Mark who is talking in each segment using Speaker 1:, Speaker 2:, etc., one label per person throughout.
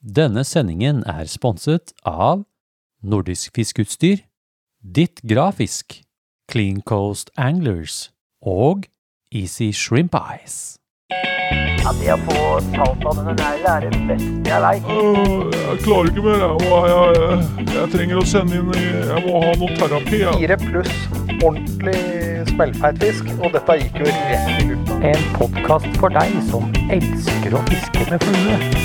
Speaker 1: Denne sendingen er sponset av Nordisk fiskeutstyr, Ditt Grafisk, Clean Coast Anglers og Easy Shrimp Eyes.
Speaker 2: Ja, det å få talt av denne neglen er det beste jeg veit.
Speaker 3: Øh, Jeg klarer ikke mer. Jeg, må, jeg, jeg, jeg trenger å sende inn i- Jeg må ha noe terapi. Jeg.
Speaker 4: Fire pluss ordentlig smellfeit fisk, og dette gikk jo rett i lufta.
Speaker 2: En podkast for deg som elsker å fiske med flue.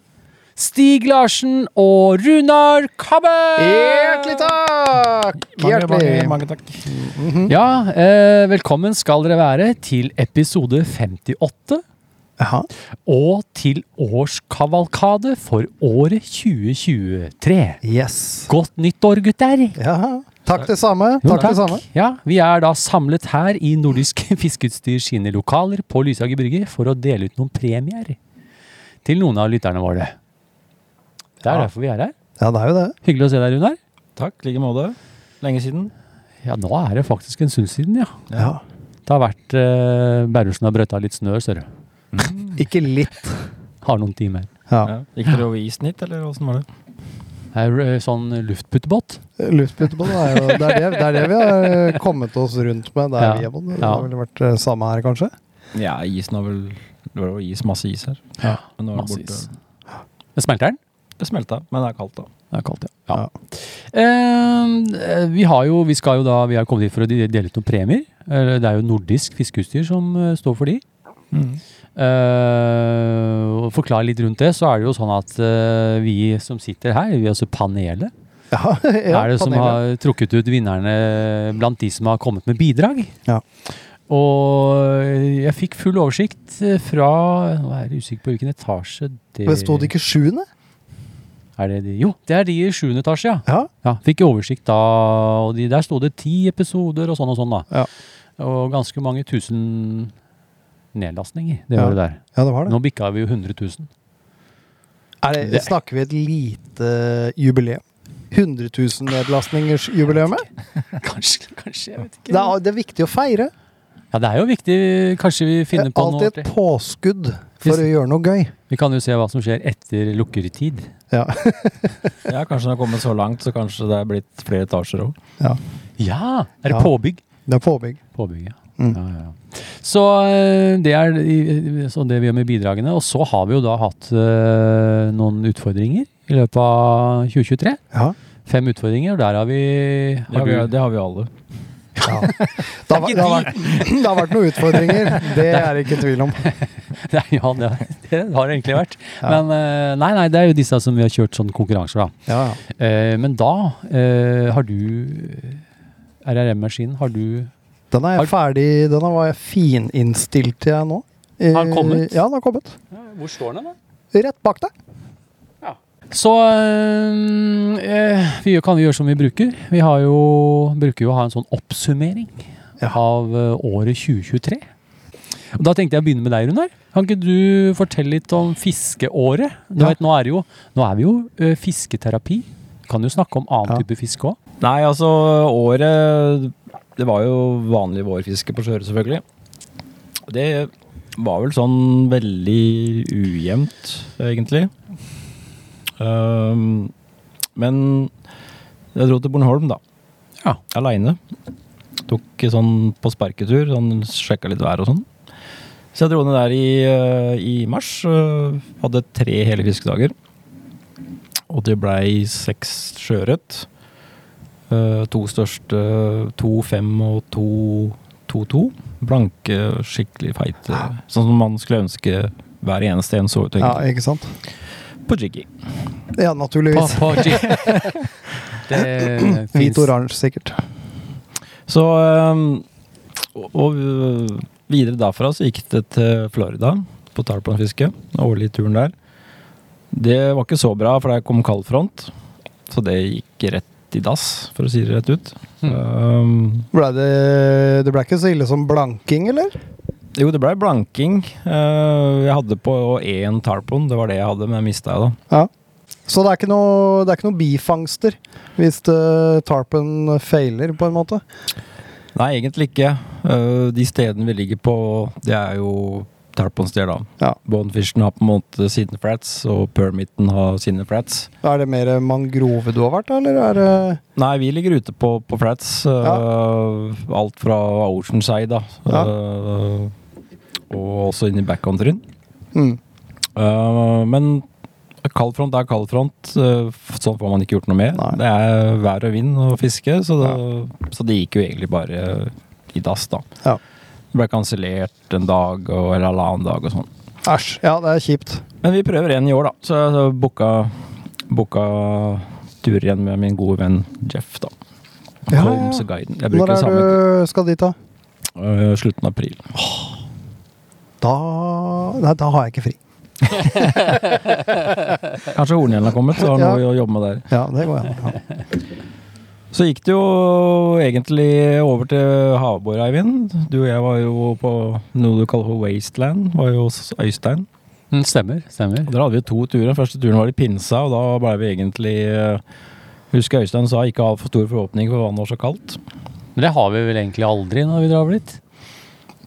Speaker 1: Stig Larsen og Runar Kabbe!
Speaker 4: Hjertelig takk! Hjertelig.
Speaker 1: Ja, eh, velkommen skal dere være til episode 58. Og til årskavalkade for året 2023.
Speaker 4: Yes.
Speaker 1: Godt nyttår, gutter!
Speaker 4: Ja. Takk det samme.
Speaker 1: Jo,
Speaker 4: Takk det samme.
Speaker 1: Ja, Vi er da samlet her i Nordisk Fiskeutstyr sine lokaler på Lysaker brygge for å dele ut noen premier til noen av lytterne våre. Det er derfor vi er her.
Speaker 4: Ja, det er jo det.
Speaker 1: Hyggelig å se deg, Runar.
Speaker 5: Takk, like måte. Lenge siden.
Speaker 1: Ja, nå er det faktisk en stund siden, ja.
Speaker 4: Ja.
Speaker 1: Det har vært eh, Bærumsen har brøyta litt snø, ser du.
Speaker 4: Ikke litt.
Speaker 1: Har noen timer.
Speaker 4: Ja.
Speaker 5: Ja. Gikk dere over isen hit, eller åssen var det?
Speaker 1: Det er eh, sånn luftputtebåt.
Speaker 4: Luftputtebål er jo det er det, det er det vi har eh, kommet oss rundt med der
Speaker 1: Ja.
Speaker 4: vi er på. Det
Speaker 1: Ja.
Speaker 4: har vel vært eh, samme her, kanskje?
Speaker 5: Ja, isen har vel Det var jo is, masse is her.
Speaker 1: Ja,
Speaker 5: Men nå er det
Speaker 1: masse
Speaker 5: borte.
Speaker 1: is. Men Smelter den?
Speaker 5: Det smelta, men det er kaldt, da.
Speaker 1: Det er kaldt, ja. Eh, vi har jo, vi skal jo da, vi har kommet hit for å de- dele ut noen premier. Eh, Det er jo nordisk fiskeutstyr som eh, står for de.
Speaker 5: Mm.
Speaker 1: Eh, og forklare litt rundt det, så er det jo sånn at eh, vi som sitter her, vi altså panelet,
Speaker 4: Ja, ja,
Speaker 1: er det som
Speaker 4: panelet.
Speaker 1: har trukket ut vinnerne blant de som har kommet med bidrag.
Speaker 4: Ja.
Speaker 1: Og eh, jeg fikk full oversikt eh, fra Nå er jeg usikker på hvilken etasje det
Speaker 4: Men Sto det ikke sjuende?
Speaker 1: Er det de? Jo, det er de i sjuende etasje, ja.
Speaker 4: Ja.
Speaker 1: ja. Fikk oversikt da, og de, der sto det ti episoder og sånn og sånn, da.
Speaker 4: Ja.
Speaker 1: Og ganske mange tusen nedlastninger. Det
Speaker 4: Ja.
Speaker 1: var det der.
Speaker 4: ja, det var det.
Speaker 1: Nå bikka vi jo 100 000.
Speaker 4: Er det.
Speaker 1: Det-
Speaker 4: Snakker vi et lite eh, jubileum? 100 000-nedlastningsjubileumet?
Speaker 1: Kanskje, kanskje, jeg vet
Speaker 4: eh? Det, er- det er viktig å feire.
Speaker 1: Ja, det er jo viktig. Kanskje vi finner på noe
Speaker 4: Alltid
Speaker 1: artig.
Speaker 4: et påskudd for
Speaker 1: Hvis-
Speaker 4: å gjøre noe gøy.
Speaker 1: Vi kan jo se hva som skjer etter lukkertid.
Speaker 4: Ja.
Speaker 5: Ja, Kanskje den har kommet så langt, så kanskje det er blitt flere etasjer òg.
Speaker 1: Ja! Er det
Speaker 4: Ja.
Speaker 1: påbygg?
Speaker 4: Det er påbygg.
Speaker 1: Påbygg, ja.
Speaker 4: Mm.
Speaker 1: ja, ja, ja. Så eh, det er i- så det vi gjør med bidragene. Og så har vi jo da hatt eh, noen utfordringer i løpet av 2023.
Speaker 4: Ja.
Speaker 1: Fem utfordringer, og der har vi
Speaker 5: Det, har
Speaker 1: har
Speaker 5: vi-
Speaker 1: du-
Speaker 5: det har vi jo alle.
Speaker 4: Det, har, vært- det, har vært, det har vært noen utfordringer, det er det ikke tvil om.
Speaker 1: Nei, Ja, det, det har det egentlig vært.
Speaker 4: Ja.
Speaker 1: Men eh, nei, nei, det er jo disse som vi har kjørt sånne konkurranser, da.
Speaker 4: Ja,
Speaker 1: Eh, Men da eh, har du eh, RRM-maskinen, har du
Speaker 4: Den er
Speaker 1: Har-
Speaker 4: jeg ferdig Den var jeg fininnstilt til jeg nå. Eh,
Speaker 1: Har den kommet?
Speaker 4: Ja, den har kommet.
Speaker 1: Hvor står den, da?
Speaker 4: Rett bak deg.
Speaker 1: Så øhm, eh, vi gjør- kan vi gjøre som vi bruker. Vi har jo, bruker jo å ha en sånn oppsummering av eh, året 2023. Og da tenkte jeg å begynne med deg, Runar. Kan ikke du fortelle litt om fiskeåret? Du
Speaker 4: Ja.
Speaker 1: vet, nå, er det jo, nå er vi jo eh, fisketerapi. Kan jo snakke om annen
Speaker 4: Ja.
Speaker 1: type fiske òg.
Speaker 5: Nei, altså, året Det var jo vanlig vårfiske på Sjøre, selvfølgelig. Det var vel sånn veldig ujevnt, egentlig. Ehm, men jeg dro til Bornholm, da.
Speaker 1: Ja.
Speaker 5: Aleine. Tok sånn på sparketur, sånn sjekka litt vær og sånn. Så jeg dro ned der i, eh, i mars. eh, Hadde tre hele fiskedager. Og det blei seks sjøørret. Eh, to største 2-5 og 2-2. Blanke, skikkelig feite. Sånn som man skulle ønske hver eneste en så ut.
Speaker 4: Ja,
Speaker 5: egentlig.
Speaker 4: ikke sant?
Speaker 5: På jiggy.
Speaker 4: Ja,
Speaker 1: På,
Speaker 4: naturligvis.
Speaker 1: på det
Speaker 4: Hvit
Speaker 1: finnes-
Speaker 4: oransje, sikkert.
Speaker 5: Så ehm, og, og øh, videre derfra så gikk det til Florida, på tarponfiske. Den årlige turen der. Det var ikke så bra, for der kom kald front. Så det gikk rett i dass, for å si det rett ut.
Speaker 1: Hmm.
Speaker 5: Ehm,
Speaker 4: Ble det, det ble ikke så ille som blanking, eller?
Speaker 5: Jo, det blei blanking. Eh, jeg hadde på én tarpon, det var det jeg hadde, men jeg mista jeg da.
Speaker 4: Ja. Så det er ikke noe, det er ikke noe bifangster hvis det, tarpen feiler, på en måte.
Speaker 5: Nei, egentlig ikke. Eh, de stedene vi ligger på, det er jo tarponsteder, da.
Speaker 4: Ja.
Speaker 5: Bonefishen har på en måte sine flats, og permitten har sine flats.
Speaker 4: Er det mer mangrove du har vært, da, eller er det
Speaker 5: Nei, vi ligger ute på, på flats. eh, alt fra Oceanside, da.
Speaker 4: Ja.
Speaker 5: eh, og også inn i backcountryen.
Speaker 4: mm.
Speaker 5: Eh, men kaldfront er kaldfront. eh, f- sånn får man ikke gjort noe med.
Speaker 4: Nei.
Speaker 5: Det er vær og vind og fiske, så det, så det gikk jo egentlig bare i dass, da.
Speaker 4: Ja.
Speaker 5: Det ble kansellert en dag og eller halvannen dag og sånn.
Speaker 4: Æsj. Ja, det er kjipt.
Speaker 5: Men vi prøver en i år, da. Så jeg så booka, booka turer igjen med min gode venn Jeff, da.
Speaker 4: Ja,
Speaker 5: Holmes
Speaker 4: ja.
Speaker 5: og guiden. Jeg
Speaker 4: Når
Speaker 5: bruker
Speaker 4: er
Speaker 5: samme
Speaker 4: du skal dit, da?
Speaker 5: øh, slutten av april.
Speaker 4: Da Nei, da har jeg ikke fri.
Speaker 5: Kanskje horngjellen har kommet, så har
Speaker 4: Ja.
Speaker 5: han noe å jobbe med der.
Speaker 4: Ja, det går an. Ja.
Speaker 5: Så gikk det jo egentlig over til havbord, Eivind. Du og jeg var jo på noe du kaller for Wasteland, var jo hos Øystein.
Speaker 1: Mm, Stemmer. stemmer.
Speaker 5: Og Der hadde vi jo to turer. Første turen var i pinsa, og da ble vi egentlig eh, Husker Øystein sa ikke ha for stor forhåpning, for vannet var så kaldt.
Speaker 1: Men det har vi vel egentlig aldri når vi drar over dit.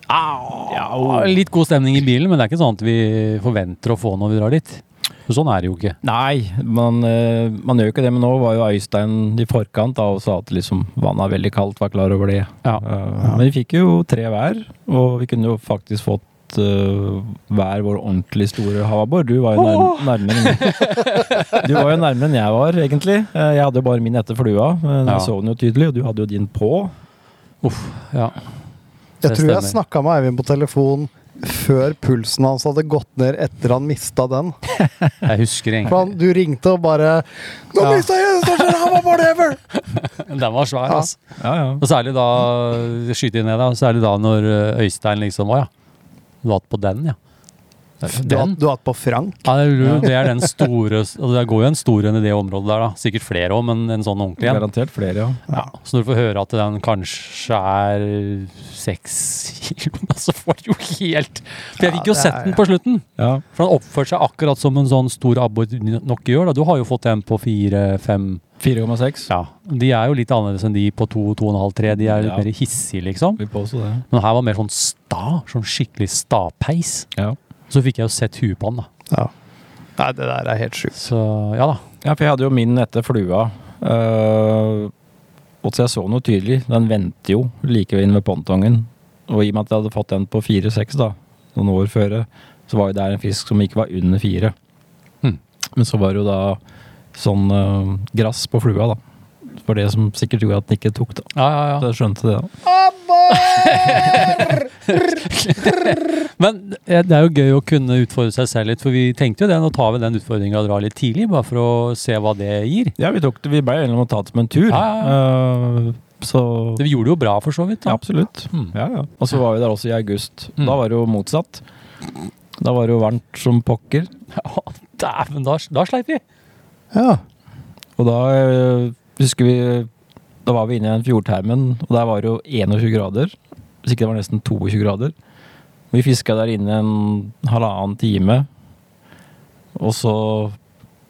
Speaker 5: Ja,
Speaker 1: Litt god stemning i bilen, men det er ikke sånn at vi forventer å få når vi drar dit. For sånn er det jo ikke.
Speaker 5: Nei, man, eh, man gjør jo ikke det, men nå var jo Øystein i forkant da, og sa at liksom, vannet er veldig kaldt, var klar over det.
Speaker 1: Ja.
Speaker 5: Eh, Men vi fikk jo tre hver, og vi kunne jo faktisk fått eh, hver vår ordentlig store havabbor. Du var jo nær, nærmere enn- Du var jo nærmere enn jeg var, egentlig. Eh, Jeg hadde jo bare min etter flua, men
Speaker 1: Ja.
Speaker 5: jeg så den jo tydelig, og du hadde jo din på.
Speaker 1: Uff, ja.
Speaker 4: Jeg
Speaker 1: Det
Speaker 4: tror jeg
Speaker 1: stemmer.
Speaker 4: snakka med Eivind på telefon før pulsen hans hadde gått ned etter han mista den.
Speaker 1: Jeg husker
Speaker 4: For
Speaker 1: egentlig.
Speaker 4: han, du ringte og bare 'Nå
Speaker 1: Ja.
Speaker 4: mista jeg den største hammer whatever!'
Speaker 1: Den var svær,
Speaker 4: Ja.
Speaker 1: altså.
Speaker 5: Ja, ja.
Speaker 1: Og særlig da skyter jeg ned da, særlig da når eh, Øystein liksom var, ja. Du har hatt på den, ja.
Speaker 4: Du har- Du har hatt på Frank?
Speaker 1: Ja, det er jo- det er den store altså Det går jo en stor en i det området der, da. Sikkert flere òg, men en sånn ordentlig en.
Speaker 5: Garantert flere, ja.
Speaker 1: Ja. Så når du får høre at den kanskje er seks kilo, så får du jo helt For jeg fikk jo
Speaker 4: det
Speaker 1: sett
Speaker 4: er-
Speaker 1: den på slutten.
Speaker 5: ja.
Speaker 1: For han oppførte seg akkurat som en sånn stor abbor nok gjør. da. Du har jo fått en på fire-fem
Speaker 5: 4,6.
Speaker 1: Ja. De er jo litt annerledes enn de på to, to og en halv, tre. De er litt
Speaker 5: Ja.
Speaker 1: mer hissige, liksom.
Speaker 5: Vi påstår det.
Speaker 1: Men her var mer sånn sta. Sånn skikkelig stapeis.
Speaker 5: Ja.
Speaker 1: Så fikk jeg jo sett huet på han, da.
Speaker 4: Ja. Nei, det der er helt sjukt.
Speaker 1: Så ja da.
Speaker 5: Ja, for jeg hadde jo min etter flua. eh, og så jeg så noe tydelig. Den vendte jo like inn ved pontongen. Og i og med at jeg hadde fått den på 4-6 da, noen år før, så var jo det en fisk som ikke var under 4.
Speaker 1: Hmm.
Speaker 5: Men så var det jo da sånn eh, grass på flua, da. Det var det som sikkert gjorde at den ikke tok, da.
Speaker 1: Ja, ja, ja.
Speaker 5: Så jeg skjønte det, da.
Speaker 1: Men eh, det er jo gøy å kunne utfordre seg selv litt, for vi tenkte jo det. Nå tar vi den utfordringa og drar litt tidlig, bare for å se hva det gir.
Speaker 5: Ja, vi, tok det, vi ble enige om å ta det som en tur.
Speaker 1: Ja,
Speaker 5: Eh, så
Speaker 1: Det vi gjorde det jo bra, for så vidt.
Speaker 5: Ja,
Speaker 1: da.
Speaker 5: absolutt.
Speaker 1: Mm.
Speaker 5: Ja, ja. Og så var vi der også i august.
Speaker 1: Mm.
Speaker 5: Da var det jo motsatt. Da var det jo varmt som pokker.
Speaker 1: Ja, Dæven, da, da sleit vi!
Speaker 4: Ja.
Speaker 5: Og da øh, husker vi Da var vi inne i den fjordtermen, og der var det jo 21 grader. Hvis ikke det var nesten 22 grader. Vi fiska der inne en halvannen time, og så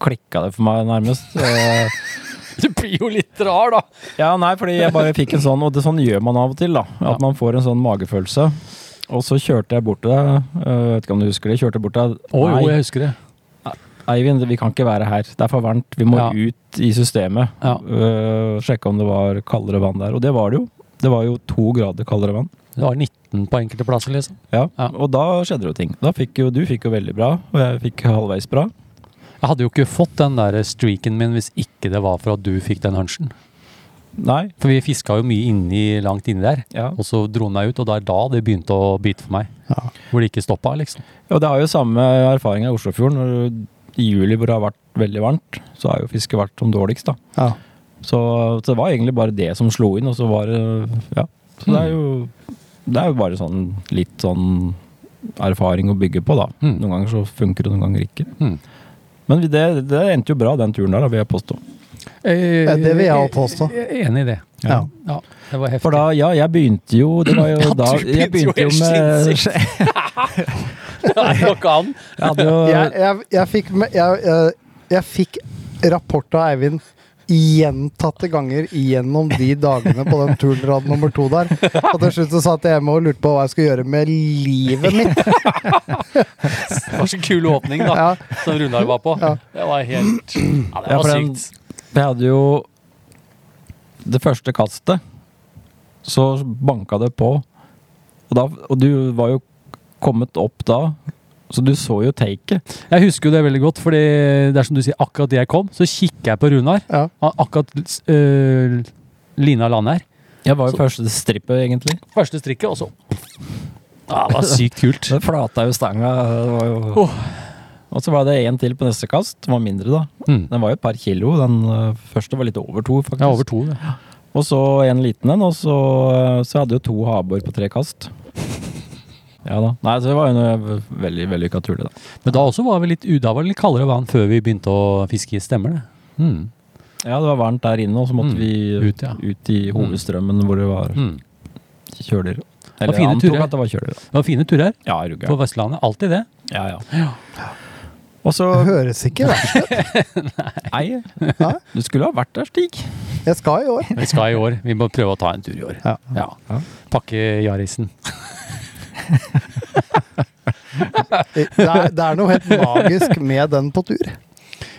Speaker 5: klikka det for meg nærmest. Eh,
Speaker 1: Du blir jo litt rar, da.
Speaker 5: Ja, nei, fordi jeg bare fikk en sånn, og det sånn gjør man av og til, da. At man får en sånn magefølelse. Og så kjørte jeg bort til deg, øh, vet ikke om du husker det, kjørte jeg bort til deg.
Speaker 1: Å jo,
Speaker 5: Nei,
Speaker 1: jeg husker det.
Speaker 5: Eivind, vi kan ikke være her. Det er for varmt. Vi må
Speaker 1: Ja.
Speaker 5: ut i systemet.
Speaker 1: Ja.
Speaker 5: Øh, sjekke om det var kaldere vann der. Og det var det jo. Det var jo to grader kaldere vann.
Speaker 1: Det var 19 på enkelte plasser, liksom.
Speaker 5: Ja.
Speaker 1: Ja.
Speaker 5: Og da skjedde det jo ting. Da fikk jo du fikk jo veldig bra, og jeg fikk halvveis bra.
Speaker 1: Jeg hadde jo ikke fått den der streaken min hvis ikke det var for at du fikk den hunchen.
Speaker 5: Nei.
Speaker 1: For vi fiska jo mye inni, langt inni der,
Speaker 5: Ja.
Speaker 1: og så dro den meg ut, og det er da det begynte å bite for meg.
Speaker 4: Ja.
Speaker 1: Hvor det ikke stoppa, liksom.
Speaker 5: Og det har jo samme erfaring i Oslofjorden. Når du- I juli hvor det har vært veldig varmt, så har jo fisket vært som dårligst, da.
Speaker 4: ja.
Speaker 5: Så, så det var egentlig bare det som slo inn, og så var det Ja. Så det er jo Det er jo bare sånn litt sånn erfaring å bygge på, da.
Speaker 1: Mm.
Speaker 5: Noen ganger så funker det, noen ganger ikke.
Speaker 1: Mm.
Speaker 5: Men vi- det, det endte jo bra, den turen der, da, vil jeg påstå.
Speaker 4: Ja, Eh, det vil jeg også påstå.
Speaker 1: Jeg er Enig i det.
Speaker 4: Ja.
Speaker 1: Ja, det var heftig.
Speaker 5: For da, ja, jeg begynte jo Det var jo
Speaker 1: Ja, du
Speaker 5: da Jeg
Speaker 1: begynte
Speaker 5: begynte
Speaker 1: jo
Speaker 5: jo
Speaker 1: helt
Speaker 5: med
Speaker 1: sinnssykt. det går ikke an.
Speaker 5: Jeg hadde jo
Speaker 4: Jeg, jeg, jeg fikk me- jeg, jeg, jeg fikk rapport av Eivind gjentatte ganger gjennom de dagene på den turen rad nummer to der. Og til slutt så satt jeg hjemme og lurte på hva jeg skulle gjøre med livet mitt.
Speaker 1: Det var så kul åpning, da,
Speaker 4: Ja,
Speaker 1: som Runar var på.
Speaker 4: Ja.
Speaker 1: Det var helt Ja, det
Speaker 5: Ja,
Speaker 1: var
Speaker 5: for den-
Speaker 1: sykt.
Speaker 5: Jeg hadde jo Det første kastet, så banka det på. Og, da, og du var jo kommet opp da, så du så jo taket.
Speaker 1: Jeg husker jo det veldig godt, fordi det er som du sier, akkurat da jeg kom, så kikker jeg på Runar.
Speaker 4: ja.
Speaker 1: Han akkurat øh, lina lander her.
Speaker 5: Jeg var jo første strippet, egentlig.
Speaker 1: Første strikket, og så ja, Det var sykt kult.
Speaker 5: Det flata jo stanga. det var jo- Og så var det én til på neste kast. Den var mindre, da.
Speaker 1: Mm.
Speaker 5: Den var jo et par kilo. Den øh, første var litt over to, faktisk.
Speaker 1: Ja, over to. Det.
Speaker 5: Og så en liten en, og så, eh, så hadde jeg jo to havbor på tre kast. Ja da. Nei, så det var jo en veldig vellykka tur, det, da.
Speaker 1: Men da også var vi litt uda, var det litt kaldere vann før vi begynte å fiske. Stemmer det? Mm.
Speaker 5: Ja, det var varmt der inne, og så måtte
Speaker 1: Mm.
Speaker 5: vi eh,
Speaker 1: Ut, ja.
Speaker 5: ut i hovedstrømmen hvor det var
Speaker 1: Mm.
Speaker 5: kjøler.
Speaker 1: var
Speaker 5: Eller
Speaker 1: fine
Speaker 5: antok
Speaker 1: turer.
Speaker 5: at det var kjøler. da.
Speaker 1: Det var fine turer
Speaker 5: Ja,
Speaker 1: på
Speaker 5: rugga.
Speaker 1: Vestlandet. Alltid det.
Speaker 5: Ja, ja. Og så
Speaker 4: Det høres ikke verst ut.
Speaker 5: Nei,
Speaker 4: Hæ?
Speaker 5: du skulle ha vært der, Stig.
Speaker 4: Jeg skal i år.
Speaker 1: Vi skal i år. Vi må prøve å ta en tur i år.
Speaker 4: Ja.
Speaker 5: Ja.
Speaker 1: Pakke Yarisen.
Speaker 4: Det er, det er noe helt magisk med den på tur.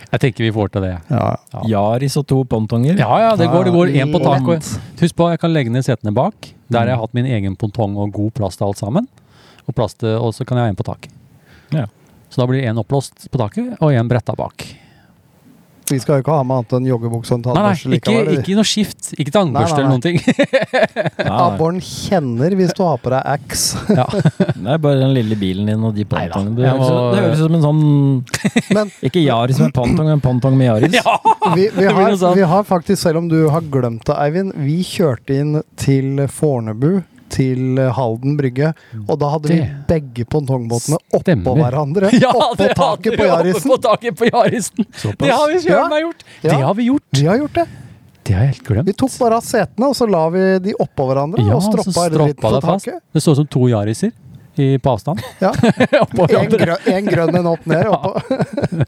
Speaker 1: Jeg tenker vi får til det. Ja.
Speaker 5: Yaris og to pontonger.
Speaker 1: Ja, ja, det går. det går Én på tak. og-
Speaker 4: Lent.
Speaker 1: Husk på, jeg kan legge ned setene bak. Der
Speaker 4: Mm.
Speaker 1: har jeg hatt min egen pontong og god plass til alt sammen. Og, plass til, og så kan jeg ha en på taket.
Speaker 5: Ja.
Speaker 1: Så da blir det én oppblåst på taket og én bretta bak.
Speaker 4: Vi skal jo ikke ha med annet enn joggebukse og en
Speaker 1: Nei, nei,
Speaker 4: tannbørste
Speaker 1: ikke,
Speaker 4: likevel.
Speaker 1: ikke noe skift. Ikke tangbørste
Speaker 4: Nei,
Speaker 1: eller
Speaker 4: nei,
Speaker 1: noen ting.
Speaker 5: Ja,
Speaker 4: Abboren kjenner hvis du har på deg Ax.
Speaker 5: det er bare den lille bilen din og de pontongene. Det
Speaker 1: jeg
Speaker 5: høres
Speaker 1: må-
Speaker 5: det høres ut som en sånn
Speaker 4: Men
Speaker 5: Ikke Yaris med pontong, men pontong med Yaris.
Speaker 4: vi, vi,
Speaker 1: blir noe
Speaker 4: har,
Speaker 1: sånn.
Speaker 4: vi har faktisk, selv om du har glemt det, Eivind, vi kjørte inn til Fornebu. Til Halden brygge. Og da hadde vi
Speaker 1: Mm. Det
Speaker 4: begge pongtongbåtene oppå
Speaker 1: stemmer.
Speaker 4: hverandre. oppå
Speaker 1: det hadde
Speaker 4: taket
Speaker 1: vi
Speaker 4: på
Speaker 1: oppe
Speaker 4: Yarisen.
Speaker 1: På taket på Yarisen. Det har vi
Speaker 4: Ja.
Speaker 1: sjøl meg gjort.
Speaker 4: Ja.
Speaker 1: Det har vi gjort.
Speaker 4: Vi har gjort det.
Speaker 1: Det har jeg helt glemt.
Speaker 4: Vi tok bare av setene, og så la vi de oppå hverandre.
Speaker 1: Ja,
Speaker 4: og
Speaker 1: så
Speaker 4: stroppa litt
Speaker 1: stroppa
Speaker 4: på
Speaker 1: det fast.
Speaker 4: taket.
Speaker 1: Det så ut som to Yariser i, på avstand.
Speaker 4: Ja.
Speaker 1: Oppå
Speaker 4: En,
Speaker 1: hverandre.
Speaker 4: grø en grønn en opp ned. Oppå.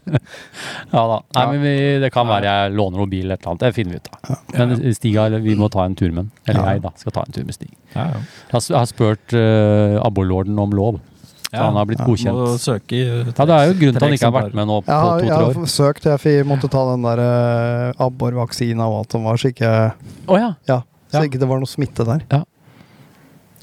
Speaker 1: Ja da. Nei,
Speaker 4: Ja.
Speaker 1: men vi, det kan være jeg låner noen bil eller et eller annet. Det finner vi ut av. Men Stig, har- vi må ta en tur med den. Eller
Speaker 4: Ja.
Speaker 1: jeg, da. Skal ta en tur med Stig.
Speaker 5: Ja, ja.
Speaker 1: Jeg har, s- jeg har spurt uh, abborlorden om lov. Så han har blitt
Speaker 5: Må
Speaker 1: godkjent.
Speaker 5: søke i
Speaker 1: Ja, Det er jo grunnen til han ikke har vært med nå på
Speaker 4: Jeg har, jeg
Speaker 1: to-tre år.
Speaker 4: har søkt, jeg fikk- måtte ta den der eh, abbor-vaksina og alt som var, så ikke,
Speaker 1: Å ja.
Speaker 4: ja, så
Speaker 1: Ja.
Speaker 4: ikke det var noe smitte der.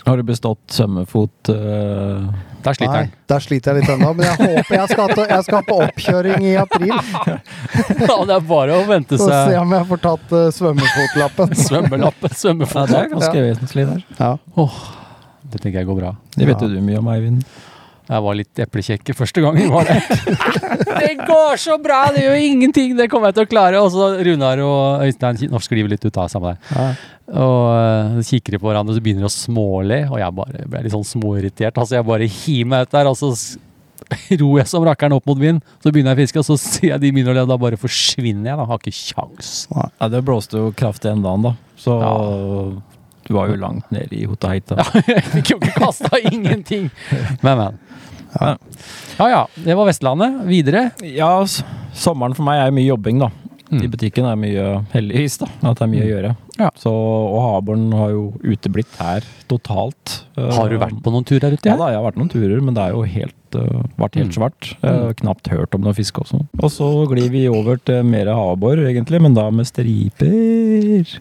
Speaker 5: Har du bestått svømmefot eh,
Speaker 1: Der sliter
Speaker 4: Nei,
Speaker 1: han.
Speaker 4: der sliter jeg litt ennå, men jeg håper jeg skal, til, jeg skal på oppkjøring i april.
Speaker 1: Ja, det er bare å vente
Speaker 4: Så se
Speaker 1: seg
Speaker 4: om jeg får tatt eh, svømmefotlappen.
Speaker 1: svømmelapp,
Speaker 5: Nei, det er
Speaker 1: svømmefot.
Speaker 5: ganske vesentlig der.
Speaker 4: Ja.
Speaker 1: Det tenker jeg går bra.
Speaker 5: Det vet
Speaker 4: Ja.
Speaker 5: jo du mye om, Eivind.
Speaker 1: Jeg var litt eplekjekke første gangen. Var det. det går så bra! Det gjør ingenting! Det kommer jeg til å klare. Og så Runar og Øystein Nå skriver litt ut av samme der.
Speaker 4: Ja.
Speaker 1: Og eh, så kikker de på hverandre og så begynner de å småle. Og jeg bare ble litt sånn småirritert. Altså, jeg bare hiver meg ut der, og så s- ror jeg som rakkeren opp mot vinden. Så begynner jeg å fiske, og så ser jeg de begynner å le, og da bare forsvinner jeg. Da har jeg ikke kjangs.
Speaker 5: Ja, det blåste jo kraftig en dag, da. Så du var jo langt nede i Hotaheita.
Speaker 1: Jeg fikk jo ikke kasta ingenting. Men, men. Ja. ja ja, det var Vestlandet. Videre.
Speaker 5: Ja, s- sommeren for meg er mye jobbing, da. I butikken er mye heldigvis, da. At det er mye å gjøre.
Speaker 1: Mm. Ja.
Speaker 5: Så, og Haboren har jo uteblitt her totalt. Eh,
Speaker 1: Har du vært på noen tur der ute?
Speaker 5: Ja
Speaker 1: ja?
Speaker 5: da, jeg har vært noen turer, men det er jo helt, øh, vært helt
Speaker 1: Mm.
Speaker 5: svart. Eh, knapt hørt om noe fiske også. Og så glir vi over til mer havbor, egentlig, men da med striper.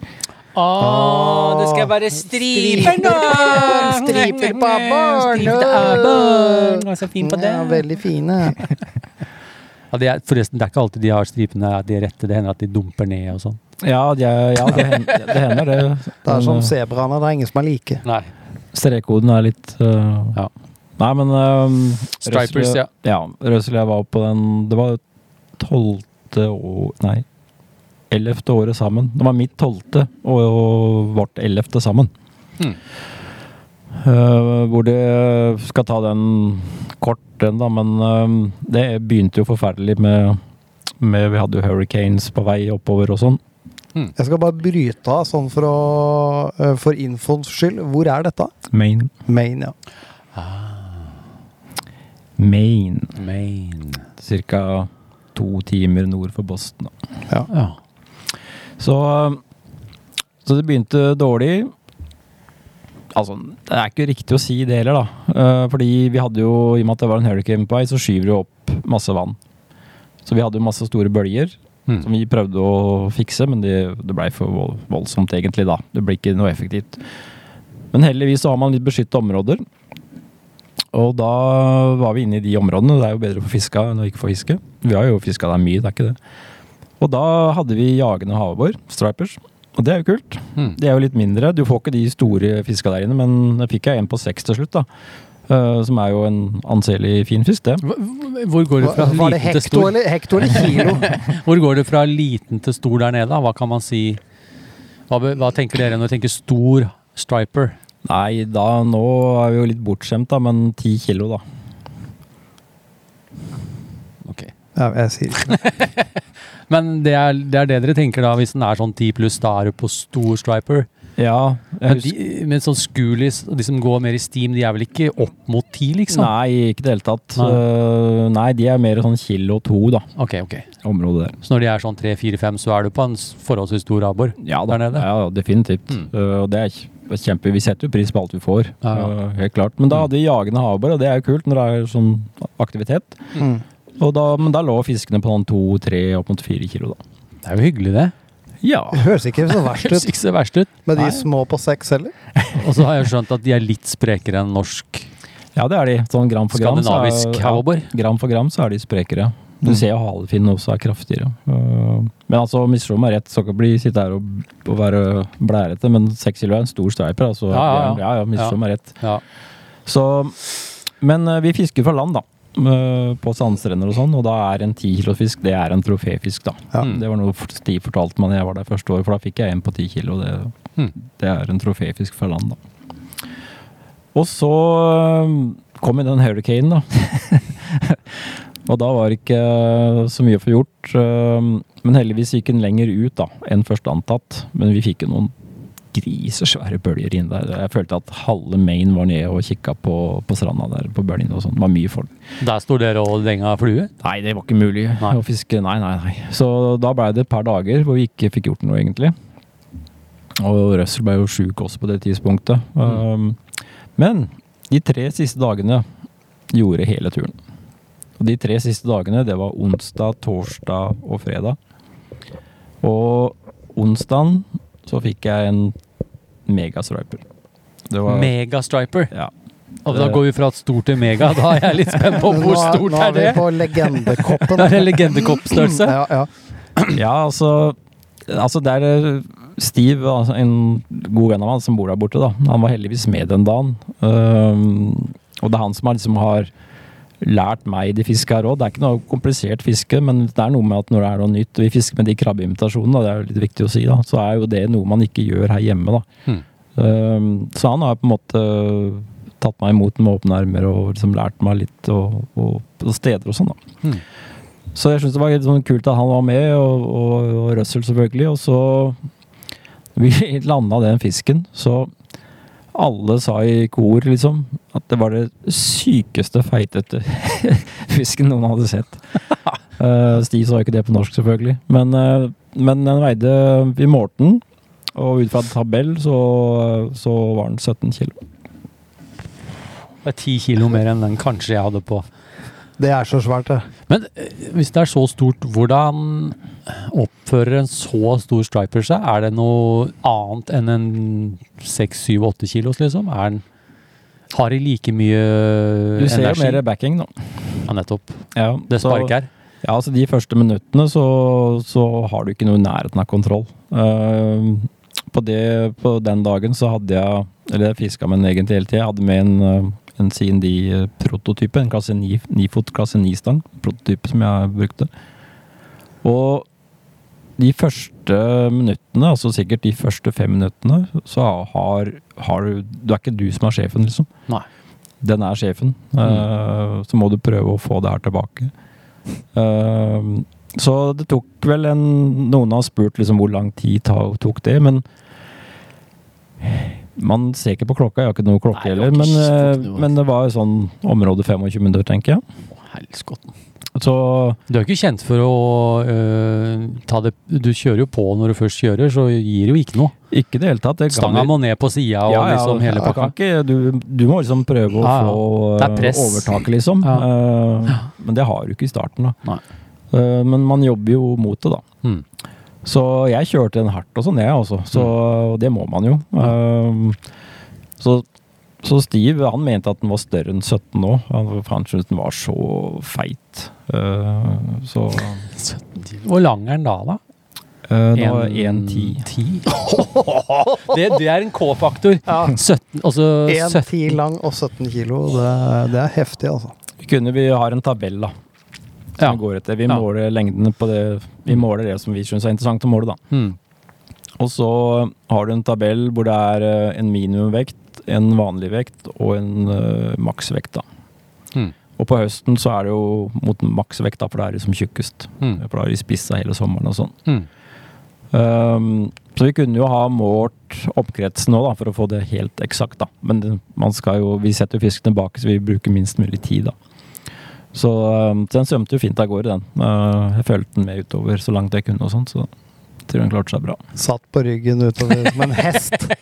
Speaker 1: Ah, det skal være striper nå!
Speaker 4: Striper på abbor!
Speaker 1: Striper til abbor. Det er Så fin på det.
Speaker 4: Ja, veldig fine.
Speaker 1: Ja, det er, forresten, det er ikke alltid de har stripene at de er rette. Det hender at de dumper ned og sånn.
Speaker 5: Ja, de er, ja det, hen- det hender, det.
Speaker 4: Det er som
Speaker 5: Men,
Speaker 4: sebraene, det er ingen som er like.
Speaker 1: Nei.
Speaker 5: øh, Strekkoden er litt øh,
Speaker 1: Ja.
Speaker 5: Nei, men øh,
Speaker 1: Stripers,
Speaker 5: Røssel-
Speaker 1: ja.
Speaker 5: Ja, Røssel jeg var på den Det var tolvte år Nei, ellevte året sammen. Det var mitt tolvte og, og vårt ellevte sammen.
Speaker 1: Hmm.
Speaker 5: Eh, hvor det skal ta den kort, den, da, men eh, det begynte jo forferdelig med, med Vi hadde jo hurricanes på vei oppover og sånn.
Speaker 1: Mm.
Speaker 4: Jeg skal bare bryte av sånn for, å, eh, for infoens skyld. Hvor er dette?
Speaker 5: Maine.
Speaker 4: Maine, ja.
Speaker 5: Maine.
Speaker 1: Maine.
Speaker 5: Cirka to timer nord for Boston. Da.
Speaker 1: Ja.
Speaker 5: Så, så det begynte dårlig. Altså, det er ikke riktig å si det heller, da. Eh, fordi vi hadde jo, i og med at det var en hurricane på vei, så skyver det jo opp masse vann. Så vi hadde jo masse store bølger som
Speaker 1: Mm.
Speaker 5: vi prøvde å fikse, men det, det blei for vold- voldsomt, egentlig, da. Det ble ikke noe effektivt. Men heldigvis så har man litt beskytta områder. Og da var vi inne i de områdene. Det er jo bedre å få fiska enn å ikke få fiske. Vi har jo fiska der mye, det er ikke det. Og da hadde vi jagende havabbor, stripers. Og det er jo kult.
Speaker 1: Mm.
Speaker 5: De er jo litt mindre. Du får ikke de store fiska der inne, men jeg fikk jeg en på seks til slutt, da. Eh, som er jo en anselig fin fisk, det.
Speaker 1: Hva- Hvor går det fra
Speaker 4: Hva- Var det
Speaker 1: liten til
Speaker 4: hekto
Speaker 1: stor?
Speaker 4: eller, hekto eller kilo?
Speaker 1: Hvor går det fra liten til stor der nede? da? Hva kan man si? Hva, be- hva tenker dere når dere tenker stor striper?
Speaker 5: Nei, da nå er vi jo litt bortskjemt, da, men ti kilo, da.
Speaker 1: Ok.
Speaker 4: Ja, jeg sier ikke det.
Speaker 1: Men det er, det er det dere tenker da, hvis den er sånn 10 pluss, da er du på stor striper.
Speaker 5: Ja.
Speaker 1: Men,
Speaker 5: Jeg husker,
Speaker 1: de, men sånn skulis, og de som går mer i steam, de er vel ikke opp mot 10 liksom?
Speaker 5: nei, ikke i det hele tatt.
Speaker 1: Nei.
Speaker 5: Eh, nei, de er mer sånn kilo to, da.
Speaker 1: Ok, ok.
Speaker 5: Området der.
Speaker 1: Så når de er sånn 3-4-5, så er du på en s- forholdsvis stor abbor?
Speaker 5: Ja da,
Speaker 1: Der nede?
Speaker 5: ja, ja, definitivt.
Speaker 1: Mm.
Speaker 5: Eh, Og det er kj- kjempe Vi setter jo pris på alt vi får,
Speaker 1: Ja, ja.
Speaker 5: eh, helt klart. Men da hadde vi jagende havabbor, og det er jo kult når det er sånn aktivitet.
Speaker 4: Mm.
Speaker 5: Og da, men da lå fiskene på sånn to, tre, opp mot fire kilo, da.
Speaker 1: Det er jo hyggelig, det.
Speaker 5: Ja.
Speaker 4: Det høres ikke så verst
Speaker 1: Høres
Speaker 4: ut
Speaker 1: ikke så verst ut.
Speaker 4: med de
Speaker 5: Nei.
Speaker 4: små på seks heller.
Speaker 1: Og så har jeg skjønt at de er litt sprekere enn norsk
Speaker 5: ja, det er de. Sånn gram for gram. så er-
Speaker 1: skandinavisk
Speaker 5: ja.
Speaker 1: havabbor.
Speaker 5: Gram for gram så er de sprekere. Du
Speaker 1: Mm.
Speaker 5: ser jo halefinnen også er kraftigere. Uh, Men altså, misforstå meg rett, så kan bli sitte her og, og være blærete, men seks kilo er en stor striper, altså.
Speaker 1: Ja, ja, ja.
Speaker 5: ja, ja, misforstå
Speaker 1: Ja.
Speaker 5: meg rett.
Speaker 1: Ja.
Speaker 5: Så, men uh, vi fisker fra land, da. uh, På sandstrender og sånn, og da er en ti kilo fisk det er en troféfisk, da.
Speaker 4: Ja.
Speaker 5: Det var noe Stiv fortalte meg da jeg var der første året, for da fikk jeg en på ti kilo. Det,
Speaker 1: Mm.
Speaker 5: det er en troféfisk fra land, da. Og så um, kom jo den hurricanen, da. og da var det ikke uh, så mye å få gjort. um, Men heldigvis gikk den lenger ut da, enn først antatt. Men vi fikk jo noen grisesvære bølger inn der. Jeg følte at halve Maine var nede og kikka på, på stranda der på bølgene og sånn. Det var mye folk.
Speaker 1: Der sto dere og denga flue?
Speaker 5: Nei, det var ikke mulig
Speaker 1: Nei.
Speaker 5: å fiske. Nei, nei, nei. Så da blei det et par dager hvor vi ikke fikk gjort noe, egentlig. Og Russell ble jo sjuk også på det tidspunktet. Um, men de tre siste dagene gjorde hele turen. Og de tre siste dagene, det var onsdag, torsdag og fredag. Og onsdagen så fikk jeg en megastriper. Det var
Speaker 1: Megastriper.
Speaker 5: Ja.
Speaker 1: Og Altså, da går vi fra et stort til mega. Da er jeg litt spent på
Speaker 4: Nå
Speaker 1: hvor
Speaker 4: er-
Speaker 1: stort
Speaker 4: nå
Speaker 1: er det?
Speaker 4: vi på legendekoppen.
Speaker 1: Det er legendekoppstørrelse.
Speaker 4: Ja, ja.
Speaker 5: Ja, altså Altså der eh, Steve, altså en god venn av meg som bor der borte, da. Han var heldigvis med den dagen. Ehm, og det er han som har, liksom har lært meg de fiska her òg. Det er ikke noe komplisert fiske, men det er noe med at når det er noe nytt Vi fisker med de krabbeimitasjonene, det er jo litt viktig å si, da. Så er jo det noe man ikke gjør her hjemme, da.
Speaker 1: Mm.
Speaker 5: Ehm, så han har på en måte tatt meg imot med åpne armer og liksom lært meg litt og, og, og steder og sånn, da.
Speaker 1: Hmm.
Speaker 5: Så jeg syns det var litt sånn kult at han var med, og, og, og Russell selvfølgelig. Og så vi landa den fisken, så alle sa i kor liksom at det var det sykeste feitete fisken noen hadde sett. Eh, Stig sa jo ikke det på norsk, selvfølgelig. Men, eh, men den veide Vi målte den, og ut fra en tabell så, så var den 17 kilo.
Speaker 1: Det er ti kilo mer enn den kanskje jeg hadde på.
Speaker 4: Det er så svært, det.
Speaker 1: Men eh, hvis det er så stort, hvordan oppfører en så stor striper seg? Er det noe annet enn en 6-7-8 kilos, liksom? Er den, har de like mye
Speaker 5: Du ser jo
Speaker 1: energi?
Speaker 5: mer backing, da.
Speaker 1: Ja, nettopp.
Speaker 5: Ja,
Speaker 1: Det
Speaker 5: så-
Speaker 1: sparket her.
Speaker 5: Ja, altså De første minuttene så, så har du ikke noe i nærheten av kontroll. Ehm, på, det, på den dagen så hadde jeg Eller jeg fiska med den egentlig hele tida. Jeg hadde med en, eh, en CND-prototype. En klasse 9, 9-fot klasse 9-stang. Prototype som jeg brukte. Og de første minuttene, altså sikkert de første fem minuttene, så har, har du Det er ikke du som er sjefen, liksom
Speaker 1: Nei.
Speaker 5: den er
Speaker 1: Mm.
Speaker 5: sjefen. Eh, så må du prøve å få det her tilbake. Eh, Så det tok vel en Noen har spurt liksom hvor lang tid ta, tok det, men man ser ikke på klokka. Jeg har ikke noe klokke
Speaker 6: Nei, det var
Speaker 5: heller,
Speaker 6: ikke
Speaker 5: men,
Speaker 6: så- det
Speaker 5: eh,
Speaker 6: var-
Speaker 5: men det var jo sånn område 25 minutter, tenker jeg.
Speaker 6: Helskotten.
Speaker 5: Så
Speaker 1: Du er jo ikke kjent for å øh, ta det Du kjører jo på når du først kjører, så gir det jo ikke noe.
Speaker 5: ikke i det hele tatt. Det
Speaker 1: Stanga må ned på sida og liksom hele
Speaker 5: jeg
Speaker 1: pakka.
Speaker 5: kan ikke, du, du må liksom prøve å
Speaker 1: Ja, ja.
Speaker 5: få
Speaker 1: Det er
Speaker 5: eh,
Speaker 1: press.
Speaker 5: overtaket, liksom.
Speaker 1: Ja.
Speaker 5: Eh, men det har du ikke i starten, da.
Speaker 6: Nei.
Speaker 5: Eh, men man jobber jo mot det, da.
Speaker 1: Mm.
Speaker 5: Så jeg kjørte den hardt og sånn, jeg også. Så
Speaker 1: Mm.
Speaker 5: det må man jo. Eh, så, så Steve han mente at den var større enn 17 nå. Han, han syntes den var så feit. Eh, så
Speaker 1: Hvor lang er den da, da?
Speaker 5: eh, nå er det
Speaker 1: Ehm, En-
Speaker 5: 1,10.
Speaker 1: Det, det er en K-faktor. 17, altså
Speaker 4: 1
Speaker 1: 17
Speaker 4: 10 lang og 17 kilo. Det, det er heftig, altså.
Speaker 5: Vi kunne, vi har en tabell da, som
Speaker 1: Ja.
Speaker 5: vi går etter. Vi
Speaker 1: Ja.
Speaker 5: måler lengdene på det, vi måler det som vi synes er interessant å måle da.
Speaker 1: Mm.
Speaker 5: Og så har du en tabell hvor det er eh, en minimumvekt, en vanlig vekt og en eh, maksvekt da.
Speaker 1: Mm.
Speaker 5: Og på høsten så er det jo mot maksvekt da, for det er liksom tjukkest.
Speaker 1: Mm.
Speaker 5: For da er de spissa hele sommeren og sånn.
Speaker 1: Mm.
Speaker 5: Ehm, så vi kunne jo ha målt oppkretsen nå da, for å få det helt eksakt da. Men det, man skal jo, vi setter jo fiskene bak, så vi bruker minst mulig tid da. Så ehm, den svømte jo fint av gårde den. Eh, jeg følte den med utover så langt jeg kunne og sånt, så jeg tror den klarte seg bra.
Speaker 4: Satt på ryggen utover som en hest de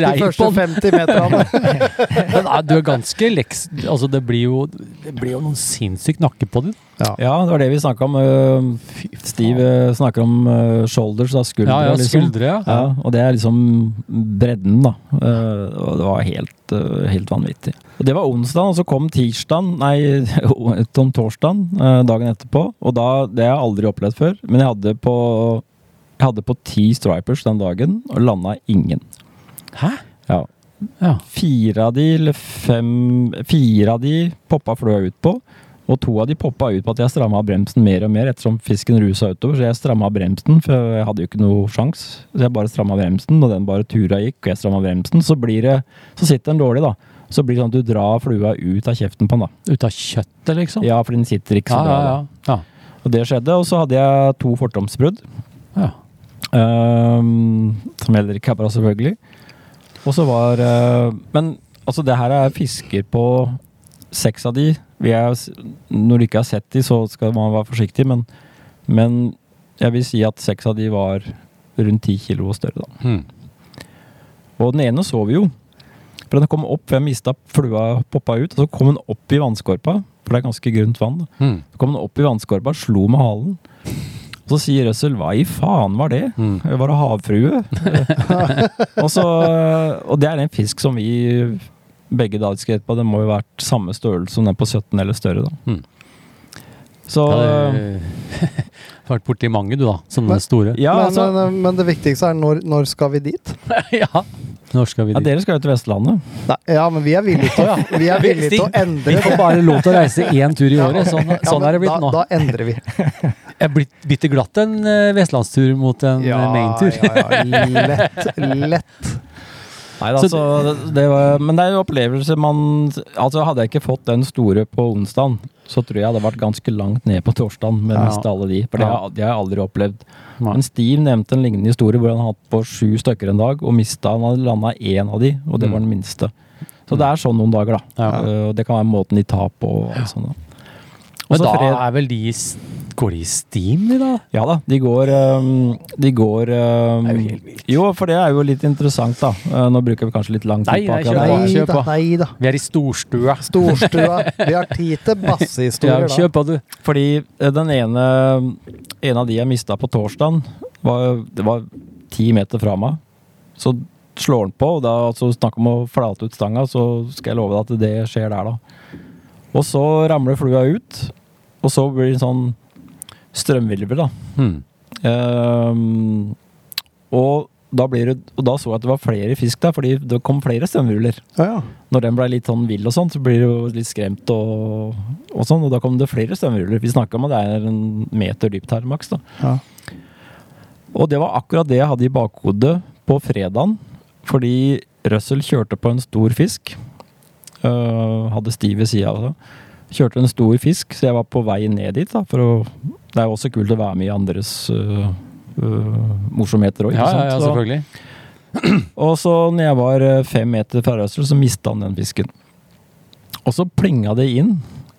Speaker 1: Rei
Speaker 4: første
Speaker 1: på den.
Speaker 4: 50 meterne.
Speaker 1: Men, ah, Du er ganske leks... Altså, det blir jo, det blir jo noen sinnssykt nakke på det.
Speaker 5: Ja, det var det vi snakket om. eh, Steve eh, snakker om eh, shoulders, da skuldre
Speaker 1: Ja, ja,
Speaker 5: liksom.
Speaker 1: skuldre, ja.
Speaker 5: Ja, og det er liksom bredden, da. Eh, og det var helt, eh, helt vanvittig. Og det var onsdag, og så kom tirsdagen, nei, om torsdagen eh, dagen etterpå. Og da, det har jeg aldri opplevd før, men jeg hadde på, jeg hadde på ti stripers den dagen, og landa ingen.
Speaker 1: Hæ?
Speaker 5: Ja.
Speaker 1: Ja.
Speaker 5: Fire av de, eller fem Fire av de poppa fløa ut på. Og to av de poppa ut på at jeg stramma bremsen mer og mer ettersom fisken rusa utover. Så jeg stramma bremsen, for jeg hadde jo ikke noe sjans. Så jeg bare stramma bremsen, og den bare tura gikk, og jeg stramma bremsen. Så blir det Så sitter den dårlig, da. Så blir det sånn at du drar flua ut av kjeften på den, da.
Speaker 1: Ut av kjøttet, liksom?
Speaker 5: Ja, for den sitter ikke så
Speaker 1: ja,
Speaker 5: bra.
Speaker 1: ja.
Speaker 5: da.
Speaker 1: ja. ja.
Speaker 5: Og det skjedde, og så hadde jeg to fortomsbrudd.
Speaker 1: Ja.
Speaker 5: Ehm, som heller ikke er bra, selvfølgelig. Og så var eh, Men altså, det her er fisker på seks av de. Vi er, når du ikke har sett de, så skal man være forsiktig, men, men jeg vil si at seks av de var rundt ti kilo og større, da.
Speaker 1: Mm.
Speaker 5: Og den ene så vi jo. For den kom opp, jeg mista flua, poppa ut, og så kom den opp i vannskorpa, for det er ganske grunt vann. da.
Speaker 1: Mm.
Speaker 5: Så kom han opp i vannskorpa, slo med halen. Og så sier Russell 'hva i faen var det?'
Speaker 1: Mm.
Speaker 5: Det var en havfrue. og, så, og det er en fisk som vi begge da skrev på. Den må jo ha vært samme størrelse som den på 17 eller større. da.
Speaker 1: Mm.
Speaker 5: Så
Speaker 1: Ja,
Speaker 5: ja,
Speaker 1: det vært borti mange, du, da. Sånne
Speaker 4: Men-
Speaker 1: store.
Speaker 4: men,
Speaker 5: altså,
Speaker 4: men, men det viktigste er når, når skal vi dit?
Speaker 1: ja. Når skal vi
Speaker 5: ja,
Speaker 1: dit?
Speaker 5: dere skal jo til Vestlandet.
Speaker 4: Nei, ja, men vi er villige til, å- vi er villige til å endre
Speaker 1: Vi
Speaker 4: det.
Speaker 1: får bare lov til å reise én tur i året. Sånn,
Speaker 4: Ja,
Speaker 1: sånn
Speaker 4: men
Speaker 1: er det blitt
Speaker 4: da,
Speaker 1: nå.
Speaker 4: Da endrer vi.
Speaker 1: Jeg er blitt bitte glatt en eh, vestlandstur mot en eh, maintur.
Speaker 4: ja, ja, lett. lett.
Speaker 5: Nei, da,
Speaker 1: Så-
Speaker 5: så det- det var, men det er jo opplevelser man altså Hadde jeg ikke fått den store på onsdagen, så tror jeg jeg hadde vært ganske langt ned på torsdagen med
Speaker 1: Ja.
Speaker 5: nesten alle de. For det,
Speaker 1: Ja.
Speaker 5: har- det har jeg aldri opplevd.
Speaker 1: Nei.
Speaker 5: Men Steve nevnte en lignende historie hvor han hadde hatt på sju stykker en dag, og mista Han hadde landa én av de, og det var den minste. Så det er sånn noen dager, da.
Speaker 1: Mm. Ja.
Speaker 5: Eh, Og det kan være måten de tar på. Og alt sånt, da.
Speaker 1: Men
Speaker 5: Også
Speaker 1: da
Speaker 5: fred-
Speaker 1: er vel de i s- Går de i steam, de, da?
Speaker 5: Ja da, de går ehm, De går ehm,
Speaker 1: Det er jo helt vilt.
Speaker 5: Jo, for det er jo litt interessant, da. Eh, nå bruker vi kanskje litt lang
Speaker 1: Nei,
Speaker 5: tid på
Speaker 1: nei,
Speaker 5: akkurat
Speaker 1: kjør
Speaker 5: det.
Speaker 1: på.
Speaker 4: Nei
Speaker 1: kjør
Speaker 4: da,
Speaker 1: på.
Speaker 4: nei da.
Speaker 1: Vi er i storstua.
Speaker 4: Storstua. Vi har tid til
Speaker 1: Ja,
Speaker 4: bassehistorier, da.
Speaker 1: kjør på, du.
Speaker 5: Fordi eh, den ene En av de jeg mista på torsdagen, var, det var ti meter fra meg. Så slår den på, og da altså, snakk om å flate ut stanga, så skal jeg love deg at det skjer der, da. Og så ramler flua ut, og så blir det en sånn strømhvilver, da.
Speaker 1: Hmm.
Speaker 5: Ehm, og da blir det, og da så jeg at det var flere fisk der, fordi det kom flere strømhvirvler.
Speaker 4: Ja, ja.
Speaker 5: Når den ble litt sånn vill og sånn, så blir det jo litt skremt og, og sånn. Og da kom det flere støvruller. Vi snakka om at det er en meter dypt her, maks. da.
Speaker 4: Ja.
Speaker 5: Og det var akkurat det jeg hadde i bakhodet på fredagen. Fordi Russell kjørte på en stor fisk. Øh, hadde stiv ved sida av seg. Kjørte en stor fisk, så jeg var på vei ned dit. da, for å, Det er jo også kult å være med i andres øh, øh, morsomheter òg.
Speaker 1: Ja, ja, ja, selvfølgelig.
Speaker 5: og så når jeg var øh, fem meter fra Røssel, så mista han den fisken. Og så plinga det inn.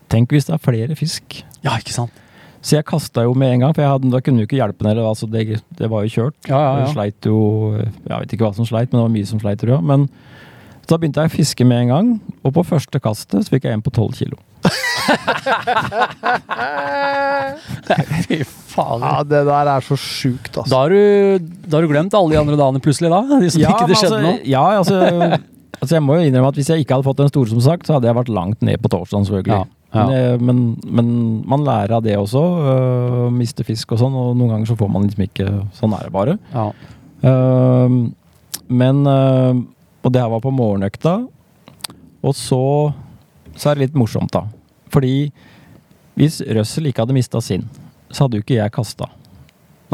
Speaker 5: Tenk hvis det er flere fisk.
Speaker 1: Ja, ikke sant?
Speaker 5: Så jeg kasta jo med en gang, for jeg hadde, da kunne jo ikke hjelpe den. eller, Altså, det, det var jo kjørt.
Speaker 1: Ja, ja,
Speaker 5: Jeg
Speaker 1: ja.
Speaker 5: sleit jo Jeg vet ikke hva som sleit, men det var mye som sleit, tror jeg. Men så da begynte jeg å fiske med en gang, og på første kastet så fikk jeg en på 12 kilo.
Speaker 1: Fy faen.
Speaker 4: Ja, det der er så sjukt, altså.
Speaker 1: Da har, du, da har du glemt alle de andre dagene plutselig, da? De som ikke
Speaker 5: men
Speaker 1: det skjedde
Speaker 5: altså,
Speaker 1: noe?
Speaker 5: ja, altså, altså Jeg må jo innrømme at hvis jeg ikke hadde fått den store, som sagt, så hadde jeg vært langt ned på torsdagen, selvfølgelig.
Speaker 1: Ja, ja.
Speaker 5: Men, eh, Men, men man lærer av det også. Øh, miste fisk og sånn, og noen ganger så får man liksom ikke Sånn er det bare.
Speaker 1: Ja.
Speaker 5: Ehm, men ehm, Og det her var på morgenøkta. Og så Så er det litt morsomt, da. Fordi hvis Russell ikke hadde mista sin, så hadde jo ikke jeg kasta.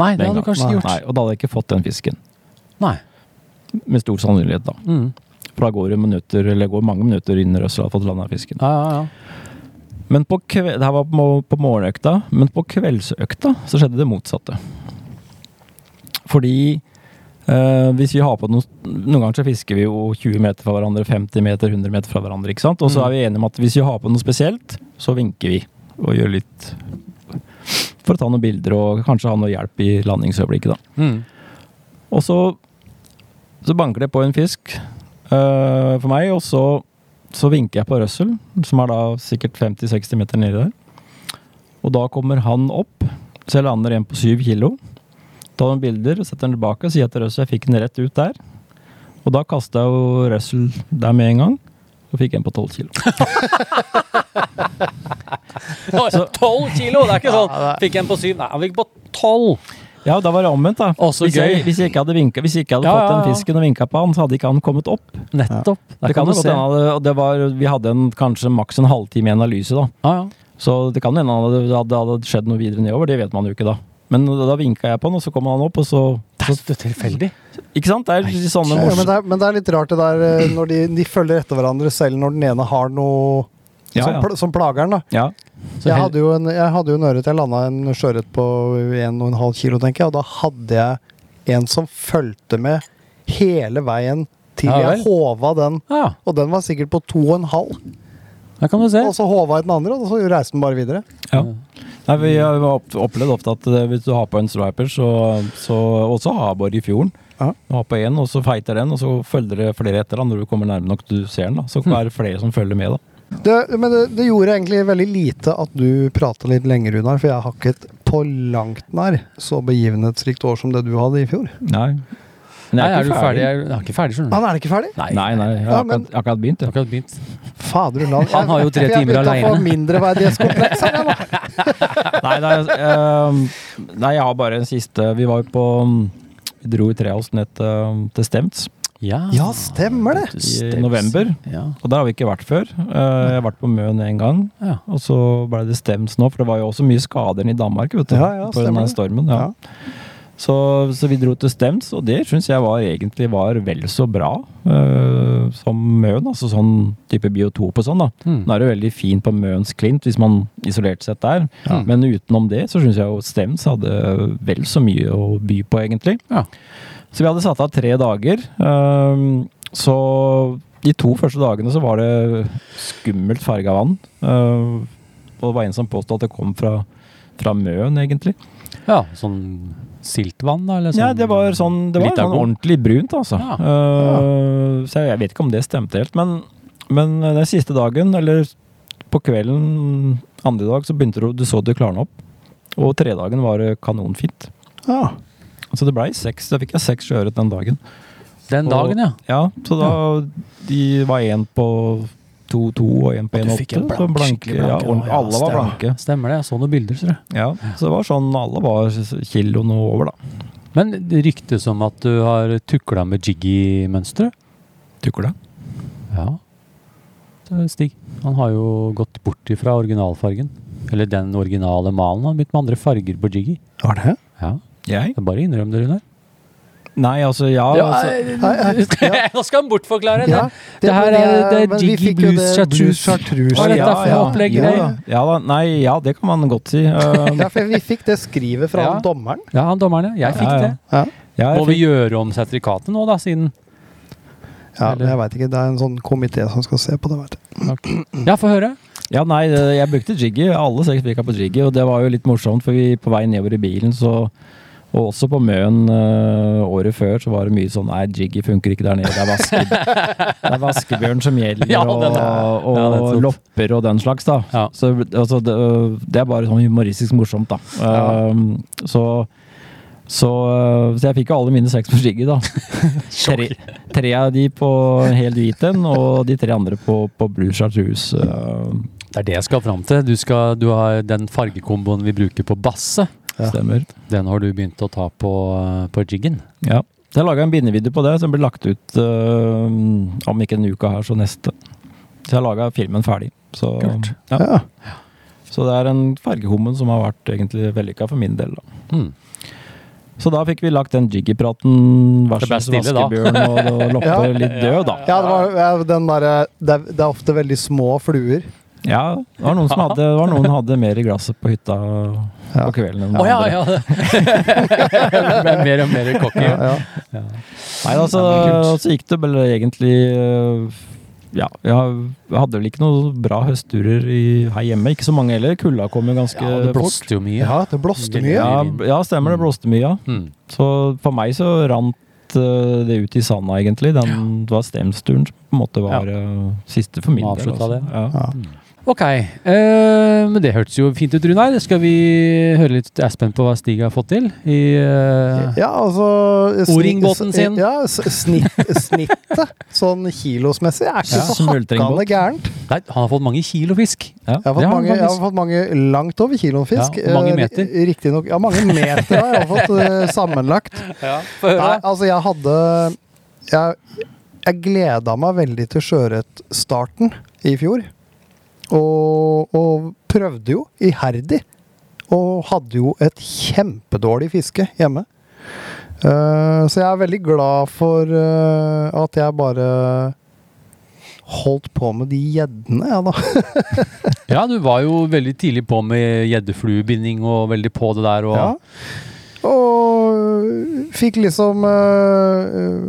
Speaker 1: Nei, det hadde du kanskje ikke
Speaker 5: Nei,
Speaker 1: gjort.
Speaker 5: og da hadde jeg ikke fått den fisken.
Speaker 1: Nei.
Speaker 5: Med stor sannsynlighet, da.
Speaker 1: Mm.
Speaker 5: For da går det minutter, eller går mange minutter innen Russell har fått landa fisken.
Speaker 1: Ja, ja, ja.
Speaker 5: Men på kve, det her var på, mo- på morgenøkta, men på kveldsøkta så skjedde det motsatte. Fordi eh, hvis vi har på noen Noen ganger så fisker vi jo 20 meter fra hverandre, 50 meter, 100 meter fra hverandre. ikke sant? Og så
Speaker 1: Mm.
Speaker 5: er vi enige om at hvis vi har på noe spesielt, så vinker vi. Og gjør litt For å ta noen bilder og kanskje ha noe hjelp i landingsøyeblikket, da.
Speaker 1: Mm.
Speaker 5: Og så, så banker det på en fisk eh, for meg, og så, så vinker jeg på Russell, som er da sikkert 50-60 meter nedi der. Og da kommer han opp, så jeg lander en på 7 kilo. Tar noen bilder, setter den tilbake og sier til Russell jeg fikk den rett ut der. Og da kasta jeg jo Russell der med en gang. Og fikk en på 12 kilo.
Speaker 1: Tolv kilo! Det er ikke sånn. Fikk en på syv. Nei, han fikk på tolv.
Speaker 5: Ja, da var det omvendt, da.
Speaker 1: Å, så
Speaker 5: hvis,
Speaker 1: gøy.
Speaker 5: jeg, hvis jeg ikke hadde, vinket, hvis jeg ikke hadde
Speaker 1: Ja, ja,
Speaker 5: fått
Speaker 1: ja.
Speaker 5: den fisken og vinka på han, så hadde ikke han kommet opp.
Speaker 1: Nettopp.
Speaker 5: Det kan jo godt hende han hadde- og det var, Vi hadde en, kanskje maks en halvtime i analyse, da.
Speaker 1: Ja, ja.
Speaker 5: Så det kan hende han hadde, det hadde, hadde skjedd noe videre nedover. Det vet man jo ikke, da. Men da, da vinka jeg på han, og så kom han opp, og så
Speaker 1: Det er tilfeldig.
Speaker 5: Ikke sant? Det er litt sånne
Speaker 4: Ja, men,
Speaker 5: morsomme
Speaker 4: det er, men det er litt rart det der eh, når de, de følger etter hverandre selv når den ene har noe
Speaker 5: Ja,
Speaker 4: som,
Speaker 5: ja.
Speaker 4: pl som plager den, da.
Speaker 5: ja. Så
Speaker 4: Jeg
Speaker 5: hel-
Speaker 4: hadde jo en, jeg hadde jo en ørret. Jeg landa en sjøørret på 1,5 kilo, tenker jeg. Og da hadde jeg en som fulgte med hele veien til
Speaker 1: Ja vel.
Speaker 4: jeg håva den.
Speaker 1: Ja,
Speaker 4: Og den var sikkert på 2,5.
Speaker 1: der kan du se.
Speaker 4: Og så håva jeg den andre, og så reiste den bare videre.
Speaker 5: ja. Nei, vi har jo opp- opplevd ofte at eh, hvis du har på en striper, så, så også havbor i fjorden.
Speaker 4: Ja.
Speaker 5: Du har på én, og så feiter den, og så følger det flere etter. da. Når du kommer nærme nok du ser den, da. så er det flere som følger med. da.
Speaker 4: Det, men det, det gjorde egentlig veldig lite at du prata litt lenger, Runar, for jeg har ikke et på langt nær så begivenhetsrikt år som det du hadde i fjor.
Speaker 5: Nei. Men
Speaker 1: Nei,
Speaker 5: jeg
Speaker 1: er du ferdig? Jeg er jeg er ikke ferdig, skjønner du.
Speaker 4: Han er det ikke ferdig?
Speaker 1: Nei,
Speaker 5: Nei, nei, jeg har
Speaker 4: Ja, men-
Speaker 5: akkurat, akkurat begynt.
Speaker 1: jeg har
Speaker 5: Ja.
Speaker 1: akkurat begynt.
Speaker 4: Fader ulan.
Speaker 1: Han har jo tre timer
Speaker 4: Jeg begynte å
Speaker 1: alene.
Speaker 4: få mindreverdighetskompleks her, jeg, nå.
Speaker 5: Nei, nei, eh, nei, jeg har bare en siste. Vi var jo på mm, Vi dro i tre av oss ned til, mm, til Stemts
Speaker 1: Ja,
Speaker 4: Ja, stemmer det!
Speaker 5: i november.
Speaker 1: Ja.
Speaker 5: Og der har vi ikke vært før. Eh, jeg har vært på Møn en gang,
Speaker 1: Ja.
Speaker 5: og så ble det Stemts nå, for det var jo også mye skader enn i Danmark vet du,
Speaker 4: Ja, ja,
Speaker 5: på
Speaker 4: stemmer
Speaker 5: denne
Speaker 4: det.
Speaker 5: stormen. Ja. Så, så vi dro til Stemts, og det syns jeg var, egentlig var vel så bra eh, som Møn. Altså sånn type biotop og sånn, da.
Speaker 1: Mm.
Speaker 5: Nå er det veldig fint på Møns Klint, hvis man isolert sett der.
Speaker 1: Ja.
Speaker 5: Men utenom det så syns jeg jo Stems hadde vel så mye å by på, egentlig.
Speaker 1: Ja.
Speaker 5: Så vi hadde satt av tre dager. ehm, så de to første dagene så var det skummelt farga vann. ehm, og det var en som påstod at det kom fra, fra Møn, egentlig.
Speaker 1: ja, sånn siltvann, da? Eller sånn,
Speaker 5: Ja, det var sånn Det var
Speaker 1: Litt av
Speaker 5: sånn
Speaker 1: god.
Speaker 5: ordentlig brunt, altså.
Speaker 1: Ja.
Speaker 5: Eh, Så jeg vet ikke om det stemte helt, men, men den siste dagen, eller på kvelden andre dag, så begynte du, du så det klarne opp. Og tredagen var det kanonfint.
Speaker 4: Ja.
Speaker 5: Så det blei seks. Da fikk jeg seks sjøørret den dagen.
Speaker 1: Den dagen, ja.
Speaker 5: Ja, så da De var én på 2-2 og én på 1-8. Så blanke, ja, ordent- alle var blanke.
Speaker 1: Stemmer det. Jeg så noen bilder, tror jeg.
Speaker 5: Ja, så det var sånn alle var kiloen og over, da.
Speaker 1: Men det ryktes om at du har tukla med Jiggy-mønsteret.
Speaker 5: Tykker det?
Speaker 1: Ja. Det er Stig. Han har jo gått bort ifra originalfargen. Eller den originale malen. Han har begynt med andre farger på Jiggy.
Speaker 4: Var det?
Speaker 1: Ja,
Speaker 5: Jeg?
Speaker 1: det er bare å innrømme det, Runar.
Speaker 5: Nei, altså ja.
Speaker 1: Ja,
Speaker 5: altså,
Speaker 1: Nå skal han bortforklare det.
Speaker 4: Ja,
Speaker 1: Det her
Speaker 4: men
Speaker 1: er- det er
Speaker 4: men vi
Speaker 1: Jiggy
Speaker 4: fikk jo det
Speaker 1: Blues Chartreuse.
Speaker 4: Blues Chartreuse.
Speaker 1: Hva er dette
Speaker 5: Ja,
Speaker 1: for
Speaker 5: ja.
Speaker 1: noe opplegg?
Speaker 4: Jo
Speaker 1: greier?
Speaker 4: da.
Speaker 5: ja da, nei, ja, det kan man godt si. Uh,
Speaker 4: Ja, for vi fikk det skrivet fra
Speaker 1: Ja.
Speaker 4: han dommeren.
Speaker 1: Ja, han dommeren, ja. Jeg fikk
Speaker 5: Ja, ja.
Speaker 1: det.
Speaker 4: Ja,
Speaker 5: ja, jeg
Speaker 1: Må vi gjøre om sertifikatet nå, da, siden
Speaker 4: ja men jeg veit ikke. Det er en sånn komité som skal se på det. Vet du.
Speaker 1: Ja, få høre.
Speaker 5: Ja, nei, det- jeg brukte Jiggy. Alle seks fikk jeg på Jiggy, og det var jo litt morsomt, for vi på vei nedover i bilen, så og også på Møen eh, året før så var det mye sånn Nei, Jiggy funker ikke der nede. Det er, vaske, det er vaskebjørn som gjelder,
Speaker 1: Ja,
Speaker 5: og,
Speaker 1: den er-
Speaker 5: og
Speaker 1: ja, nettopp.
Speaker 5: lopper og den slags. da.
Speaker 1: Ja.
Speaker 5: Så altså, det, det er bare sånn humoristisk morsomt, da. Um, så, så, eh, så jeg fikk jo alle mine seks på Jiggy, da. Tre, tre av de på hel hvit en, og de tre andre på, på Blue Chartreuse. eh,
Speaker 1: Det er det jeg skal fram til. Du, skal, du har den fargekomboen vi bruker på basse.
Speaker 4: Ja.
Speaker 5: Stemmer.
Speaker 1: Den har du begynt å ta på, eh, på jiggen.
Speaker 5: Ja. Så jeg laga en bindevideo på det som blir lagt ut øh, om ikke en uke her, så neste. Så jeg laga filmen ferdig. Så,
Speaker 1: Kult.
Speaker 5: Ja.
Speaker 4: Ja.
Speaker 5: så det er en fargehummen som har vært egentlig vellykka for min del. Da.
Speaker 1: Mm.
Speaker 5: Så da fikk vi lagt den jiggy-praten
Speaker 1: Det ble
Speaker 5: versus
Speaker 1: stille, da.
Speaker 5: vaskebjørn og, og
Speaker 4: Ja.
Speaker 5: lopper litt død, da.
Speaker 4: Ja, det, var, ja, den der, det, er, det er ofte veldig små fluer.
Speaker 5: Ja, det var noen som hadde, det var noen hadde mer i glasset på hytta
Speaker 4: Ja.
Speaker 5: på kvelden enn
Speaker 1: Å ja,
Speaker 5: andre.
Speaker 1: ja! Det ble mer og mer cocky.
Speaker 4: Ja, ja.
Speaker 5: Nei, altså,
Speaker 1: Ja, men kult.
Speaker 5: så gikk det vel egentlig øh, Ja, jeg har- jeg hadde vel ikke noen bra høstturer i, her hjemme. Ikke så mange heller. Kulda kom jo ganske
Speaker 1: Ja, det
Speaker 5: fort.
Speaker 1: blåste jo mye.
Speaker 4: ja det blåste mye.
Speaker 5: Ja, b- ja, stemmer. Det blåste mye, ja.
Speaker 1: Mm.
Speaker 5: Så for meg så rant øh, det ut i sanda, egentlig. Den, det var stemsturen som på en måte var øh, siste for min
Speaker 1: Må
Speaker 5: del.
Speaker 1: avslutte
Speaker 5: altså.
Speaker 1: det.
Speaker 5: Ja.
Speaker 4: Ja.
Speaker 1: Mm. Ok, eh, men det hørtes jo fint ut, Runar. Skal vi høre litt Jeg er spent på hva Stig har fått til? I, eh,
Speaker 4: Ja, altså sni-
Speaker 1: O-ringbåten sin.
Speaker 4: Ja, s- snitt, snittet sånn kilosmessig er ikke
Speaker 5: Ja,
Speaker 4: så hakkande
Speaker 5: smultringbåt.
Speaker 4: gærent.
Speaker 1: Nei, han har fått mange kilo fisk.
Speaker 4: Jeg
Speaker 5: Ja.
Speaker 4: har,
Speaker 1: Det
Speaker 4: fått
Speaker 1: har han
Speaker 4: mange, jeg har
Speaker 1: faktisk.
Speaker 4: fått mange langt over kiloen fisk.
Speaker 1: Ja, og mange
Speaker 4: Eh,
Speaker 1: meter.
Speaker 4: ri- Riktignok. Ja, mange meter har jeg fått eh, sammenlagt.
Speaker 1: Få høre.
Speaker 4: Nei, altså jeg hadde Jeg, jeg gleda meg veldig til sjøørretstarten i fjor. Og, og prøvde jo iherdig. Og hadde jo et kjempedårlig fiske hjemme. Eh, så jeg er veldig glad for eh, at jeg bare holdt på med de gjeddene, jeg, da.
Speaker 1: Ja, du var jo veldig tidlig på med gjeddefluebinding og veldig på det der. Og,
Speaker 4: Ja. Og fikk liksom uh,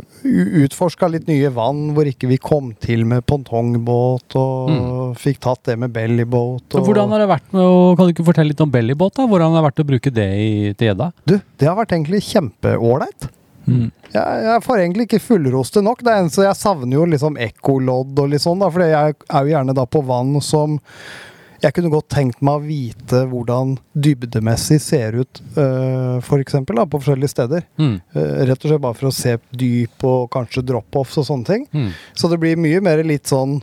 Speaker 4: utforska litt nye vann hvor ikke vi kom til med pongtongbåt, og fikk tatt det med bellybåt.
Speaker 1: Så
Speaker 4: Og...
Speaker 1: hvordan har det vært med å, Kan du ikke fortelle litt om bellybåt? da? Hvordan har det vært å bruke det i, til gjedda?
Speaker 4: Du, det har vært egentlig kjempeålreit.
Speaker 5: Mm.
Speaker 4: Jeg, jeg får egentlig ikke fullroste nok. Det eneste jeg savner jo liksom ekkolodd og litt sånn, da, for jeg er jo gjerne da på vann som jeg kunne godt tenkt meg å vite hvordan dybdemessig ser ut, eh, for eksempel, da, på forskjellige steder.
Speaker 1: Mm.
Speaker 4: Eh, Rett og slett bare for å se dyp og kanskje drop-offs og sånne ting.
Speaker 1: Mm.
Speaker 4: Så det blir mye mer litt sånn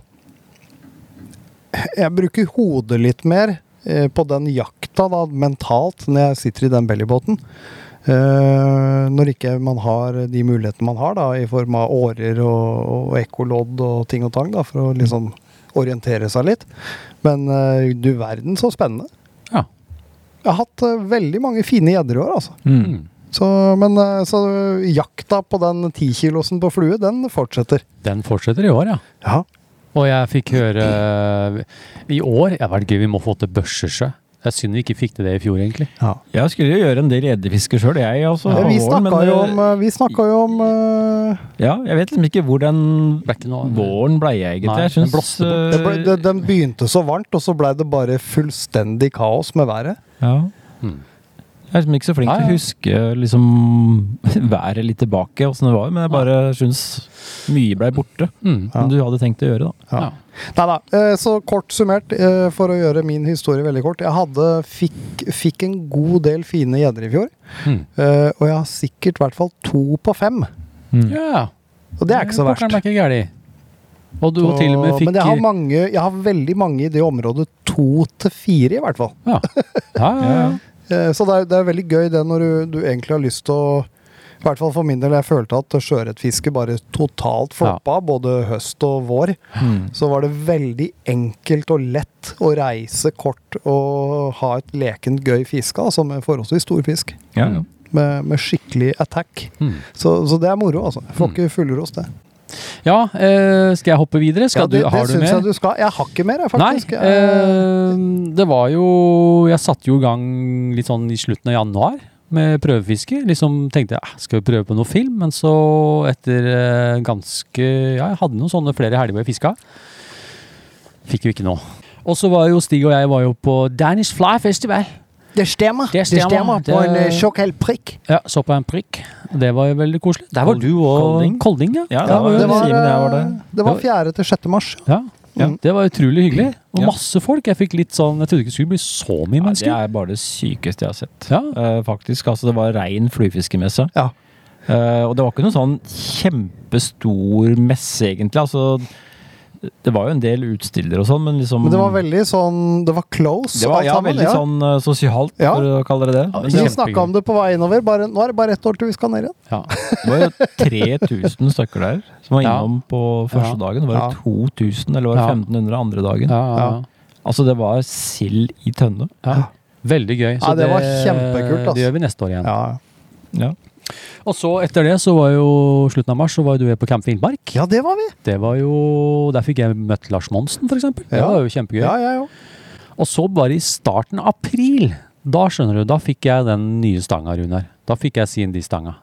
Speaker 4: Jeg bruker hodet litt mer eh, på den jakta da, mentalt når jeg sitter i den bellybåten. Eh, når ikke man har de mulighetene man har da, i form av årer og, og ekkolodd og ting og tang, da, for å liksom orientere seg litt. Men eh, du verden så spennende.
Speaker 1: Ja.
Speaker 4: Jeg har hatt eh, veldig mange fine gjedder i år, altså.
Speaker 5: Mm.
Speaker 4: Så, men eh, så jakta på den tikilosen på flue, den fortsetter.
Speaker 1: Den fortsetter i år, ja.
Speaker 4: Ja.
Speaker 1: Og jeg fikk høre I år ja, det vært gøy, vi må få til Børsesjø. Det er synd vi ikke fikk til det i fjor, egentlig.
Speaker 5: Jeg skulle jo gjøre en del gjeddefiske sjøl, jeg. Altså,
Speaker 4: Ja, vi
Speaker 5: på
Speaker 4: snakka jo
Speaker 5: våren, men, øh,
Speaker 4: om, eh, vi snakka jo om eh,
Speaker 5: Ja, jeg vet liksom ikke hvor den
Speaker 1: Det er ikke noe
Speaker 5: våren blei, egentlig.
Speaker 1: Nei,
Speaker 5: jeg
Speaker 1: den
Speaker 5: syns eh,
Speaker 1: blåste bort.
Speaker 4: det ble, det, Den begynte så varmt, og så blei det bare fullstendig kaos med været.
Speaker 5: Ja.
Speaker 1: Mm.
Speaker 5: Jeg er liksom ikke så flink
Speaker 1: Nei,
Speaker 5: til å
Speaker 1: ja.
Speaker 5: huske liksom, været litt tilbake, åssen det var, men jeg bare syns mye blei borte.
Speaker 1: Mm.
Speaker 5: Som du hadde tenkt å gjøre, da.
Speaker 1: Ja.
Speaker 4: Nei da. eh, Så kort summert, eh, for å gjøre min historie veldig kort. Jeg hadde, fikk, fikk en god del fine gjedder i fjor.
Speaker 1: Mm.
Speaker 4: eh, Og jeg har sikkert i hvert fall to på fem.
Speaker 1: ja.
Speaker 4: Og det er ikke så verst.
Speaker 1: Pokkeren er ikke gæli. Og du og til og med
Speaker 4: Og-
Speaker 1: fikk
Speaker 4: Men jeg har, mange, jeg har veldig mange i det området. To til fire, i hvert fall.
Speaker 1: ja. Ja, ja, ja.
Speaker 4: Eh, Så det er, det er veldig gøy det når du, du egentlig har lyst til å I hvert fall for min del, jeg følte at sjøørretfiske bare totalt floppa, både høst og vår.
Speaker 5: Mm.
Speaker 4: Så var det veldig enkelt og lett å reise kort og ha et lekent gøy fiske, altså med forholdsvis stor fisk.
Speaker 5: Ja, ja.
Speaker 4: med, med skikkelig attack.
Speaker 1: Mm.
Speaker 4: Så, så det er moro, altså. Jeg får ikke fullrost, det.
Speaker 1: Ja, eh, skal jeg hoppe videre? Skal
Speaker 4: Ja, det
Speaker 1: du,
Speaker 4: det
Speaker 1: har du
Speaker 4: syns
Speaker 1: mer?
Speaker 4: jeg du skal. Jeg har ikke mer, jeg, faktisk. eh,
Speaker 1: Nei, eh, det var jo Jeg satte jo i gang litt sånn i slutten av januar med prøvefiske. Liksom tenkte jeg "Ah, skal vi prøve på noe film, men så etter eh, ganske Ja, jeg hadde noen sånne flere helger hvor jeg fiska. Fikk jo ikke noe. Og så var jo Stig og jeg var jo på Danish Fly Festival.
Speaker 4: det stemmer.
Speaker 1: det stemmer. Det stemmer på en, eh, Det-
Speaker 4: tjukk hel prikk.
Speaker 1: Ja, Så på en prikk. Det var jo veldig koselig. Der var
Speaker 5: Kold-
Speaker 1: du og
Speaker 5: Kolding.
Speaker 1: Kolding, ja.
Speaker 5: Ja,
Speaker 4: Ja,
Speaker 5: det var,
Speaker 4: det, var,
Speaker 5: Simen og jeg var der.
Speaker 4: eh, det var 4. til 6. mars.
Speaker 1: ja.
Speaker 5: Ja.
Speaker 1: Det var utrolig hyggelig. Og
Speaker 5: Mm. Ja.
Speaker 1: masse folk. Jeg fikk litt sånn Jeg trodde ikke det skulle bli så mye
Speaker 5: Ja, det
Speaker 1: mennesker.
Speaker 5: er bare det sykeste jeg har sett.
Speaker 1: Ja.
Speaker 5: Eh, faktisk, altså Det var rein fluefiskemesse.
Speaker 4: Ja.
Speaker 5: Eh, og det var ikke noen sånn kjempestor messe, egentlig. Altså, det var jo en del utstillere og sånn, men liksom
Speaker 4: Men det var veldig sånn Det var close.
Speaker 5: det var,
Speaker 4: alt
Speaker 5: ja,
Speaker 4: sammen,
Speaker 5: veldig sånn eh, sosialt,
Speaker 4: Ja.
Speaker 5: for å kalle det det.
Speaker 1: Ja,
Speaker 4: Vi
Speaker 5: Men det,
Speaker 1: kjempe-
Speaker 4: snakka om det på vei innover. Bare, nå er det bare ett år til vi skal ned igjen.
Speaker 1: Ja.
Speaker 5: det var jo 3000 stykker der som var
Speaker 1: Ja.
Speaker 5: innom på første
Speaker 1: Ja.
Speaker 5: dagen. Det var
Speaker 4: Ja.
Speaker 5: det 2000, eller var det
Speaker 1: Ja.
Speaker 5: 1500 andre dagen.
Speaker 1: Ja, ja, ja.
Speaker 5: Altså, det var sild i tønne.
Speaker 1: Ja. Veldig gøy.
Speaker 4: Ja, det var kjempekult, ass.
Speaker 1: Det gjør vi neste år igjen.
Speaker 4: Ja,
Speaker 5: Ja.
Speaker 1: Og så etter det, så var jo slutten av mars, så var jo du her på Camp Finnmark.
Speaker 4: ja det var vi!
Speaker 1: Det var jo Der fikk jeg møtt Lars Monsen, for eksempel. Det
Speaker 4: Ja.
Speaker 1: var jo kjempegøy.
Speaker 4: Ja, jeg òg.
Speaker 1: Og så bare i starten av april, da skjønner du, da fikk jeg den nye stanga, Runar. Da fikk jeg CND-stanga.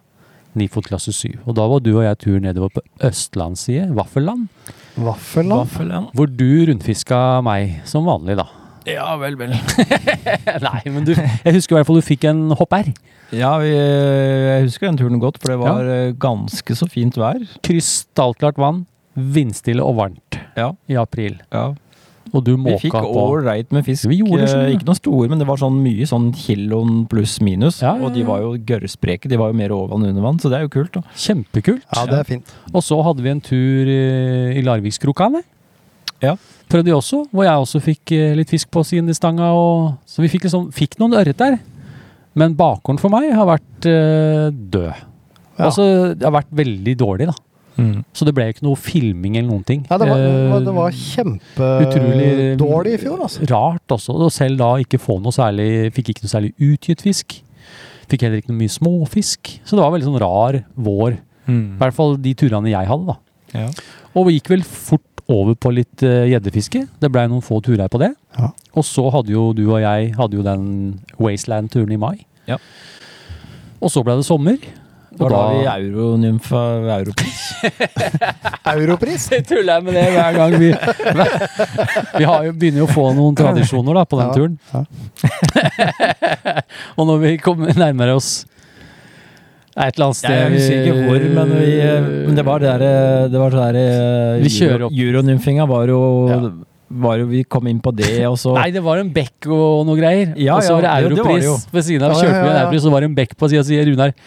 Speaker 1: Nifot klasse 7. Og da var du og jeg tur nedover på østlandsside, Vaffelland,
Speaker 4: Vaffelland.
Speaker 5: Vaffel,
Speaker 1: hvor du rundfiska meg som vanlig, da.
Speaker 5: ja. ja, vel, vel.
Speaker 1: Nei, men du Jeg husker i hvert fall du fikk en hopp-r.
Speaker 5: Ja, vi, jeg husker den turen godt, for det var eh, ganske så fint vær.
Speaker 1: Krystallklart vann, vindstille og varmt
Speaker 5: Ja,
Speaker 1: i april.
Speaker 5: ja.
Speaker 1: Og du
Speaker 5: Vi
Speaker 1: måka
Speaker 5: fikk
Speaker 1: på.
Speaker 5: ålreit med fisk.
Speaker 1: Vi gjorde det, skjønner
Speaker 5: Eh,
Speaker 1: du.
Speaker 5: Ikke noe store, men det var sånn mye sånn kiloen pluss minus.
Speaker 1: Ja, ja,
Speaker 5: Og de
Speaker 1: ja.
Speaker 5: var jo gørrspreke, de var jo mer over enn under vann, så det er jo kult. da.
Speaker 1: Kjempekult.
Speaker 4: Ja, det er fint.
Speaker 1: Og så hadde vi en tur eh, i Larvikskrokane.
Speaker 5: Ja.
Speaker 1: Prøvde vi også, hvor jeg også fikk eh, litt fisk på siden i stanga. Og, så vi fikk, liksom, fikk noen ørret der. Men bakgården for meg har vært eh, død.
Speaker 4: Ja.
Speaker 1: Altså, det har vært veldig dårlig, da. Så det ble ikke noe filming eller noen ting.
Speaker 4: Ja, det var, det var, det
Speaker 1: Eh,
Speaker 4: var
Speaker 1: utrolig
Speaker 4: kjempedårlig i fjor, altså.
Speaker 1: Rart også. Og selv da ikke få noe særlig Fikk ikke noe særlig utgitt fisk. Fikk heller ikke noe mye småfisk. Så det var veldig sånn rar vår. I hvert fall de turene jeg hadde, da.
Speaker 5: Ja.
Speaker 1: Og vi gikk vel fort over på litt eh, gjeddefiske. Det blei noen få turer på det.
Speaker 4: Ja.
Speaker 1: Og så hadde jo du og jeg hadde jo den Wasteland-turen i mai.
Speaker 5: Ja.
Speaker 1: Og så blei det sommer.
Speaker 5: Det var da vi euronymfa Europris.
Speaker 4: Europris!
Speaker 1: Jeg tuller jeg med det hver gang vi Vi har jo, begynner jo å få noen tradisjoner da, på den
Speaker 4: Ja,
Speaker 1: turen. og når vi kommer nærmere oss et eller annet sted
Speaker 5: Jeg husker ikke hvor, men, vi, eh, men det var det der, eh, det var det der
Speaker 1: Vi kjører opp.
Speaker 5: Euronymfinga var jo,
Speaker 1: Ja.
Speaker 5: var jo Vi kom inn på det, og så
Speaker 1: Nei, det var en bekk og noe greier.
Speaker 5: Ja,
Speaker 1: og så var det
Speaker 5: ja, det- det var det
Speaker 1: europris
Speaker 5: jo.
Speaker 1: ved siden av.
Speaker 4: Ja, ja,
Speaker 1: Kjørte vi
Speaker 4: ja,
Speaker 1: en
Speaker 4: ja.
Speaker 1: europris, så var det en bekk på sida, sier Runar.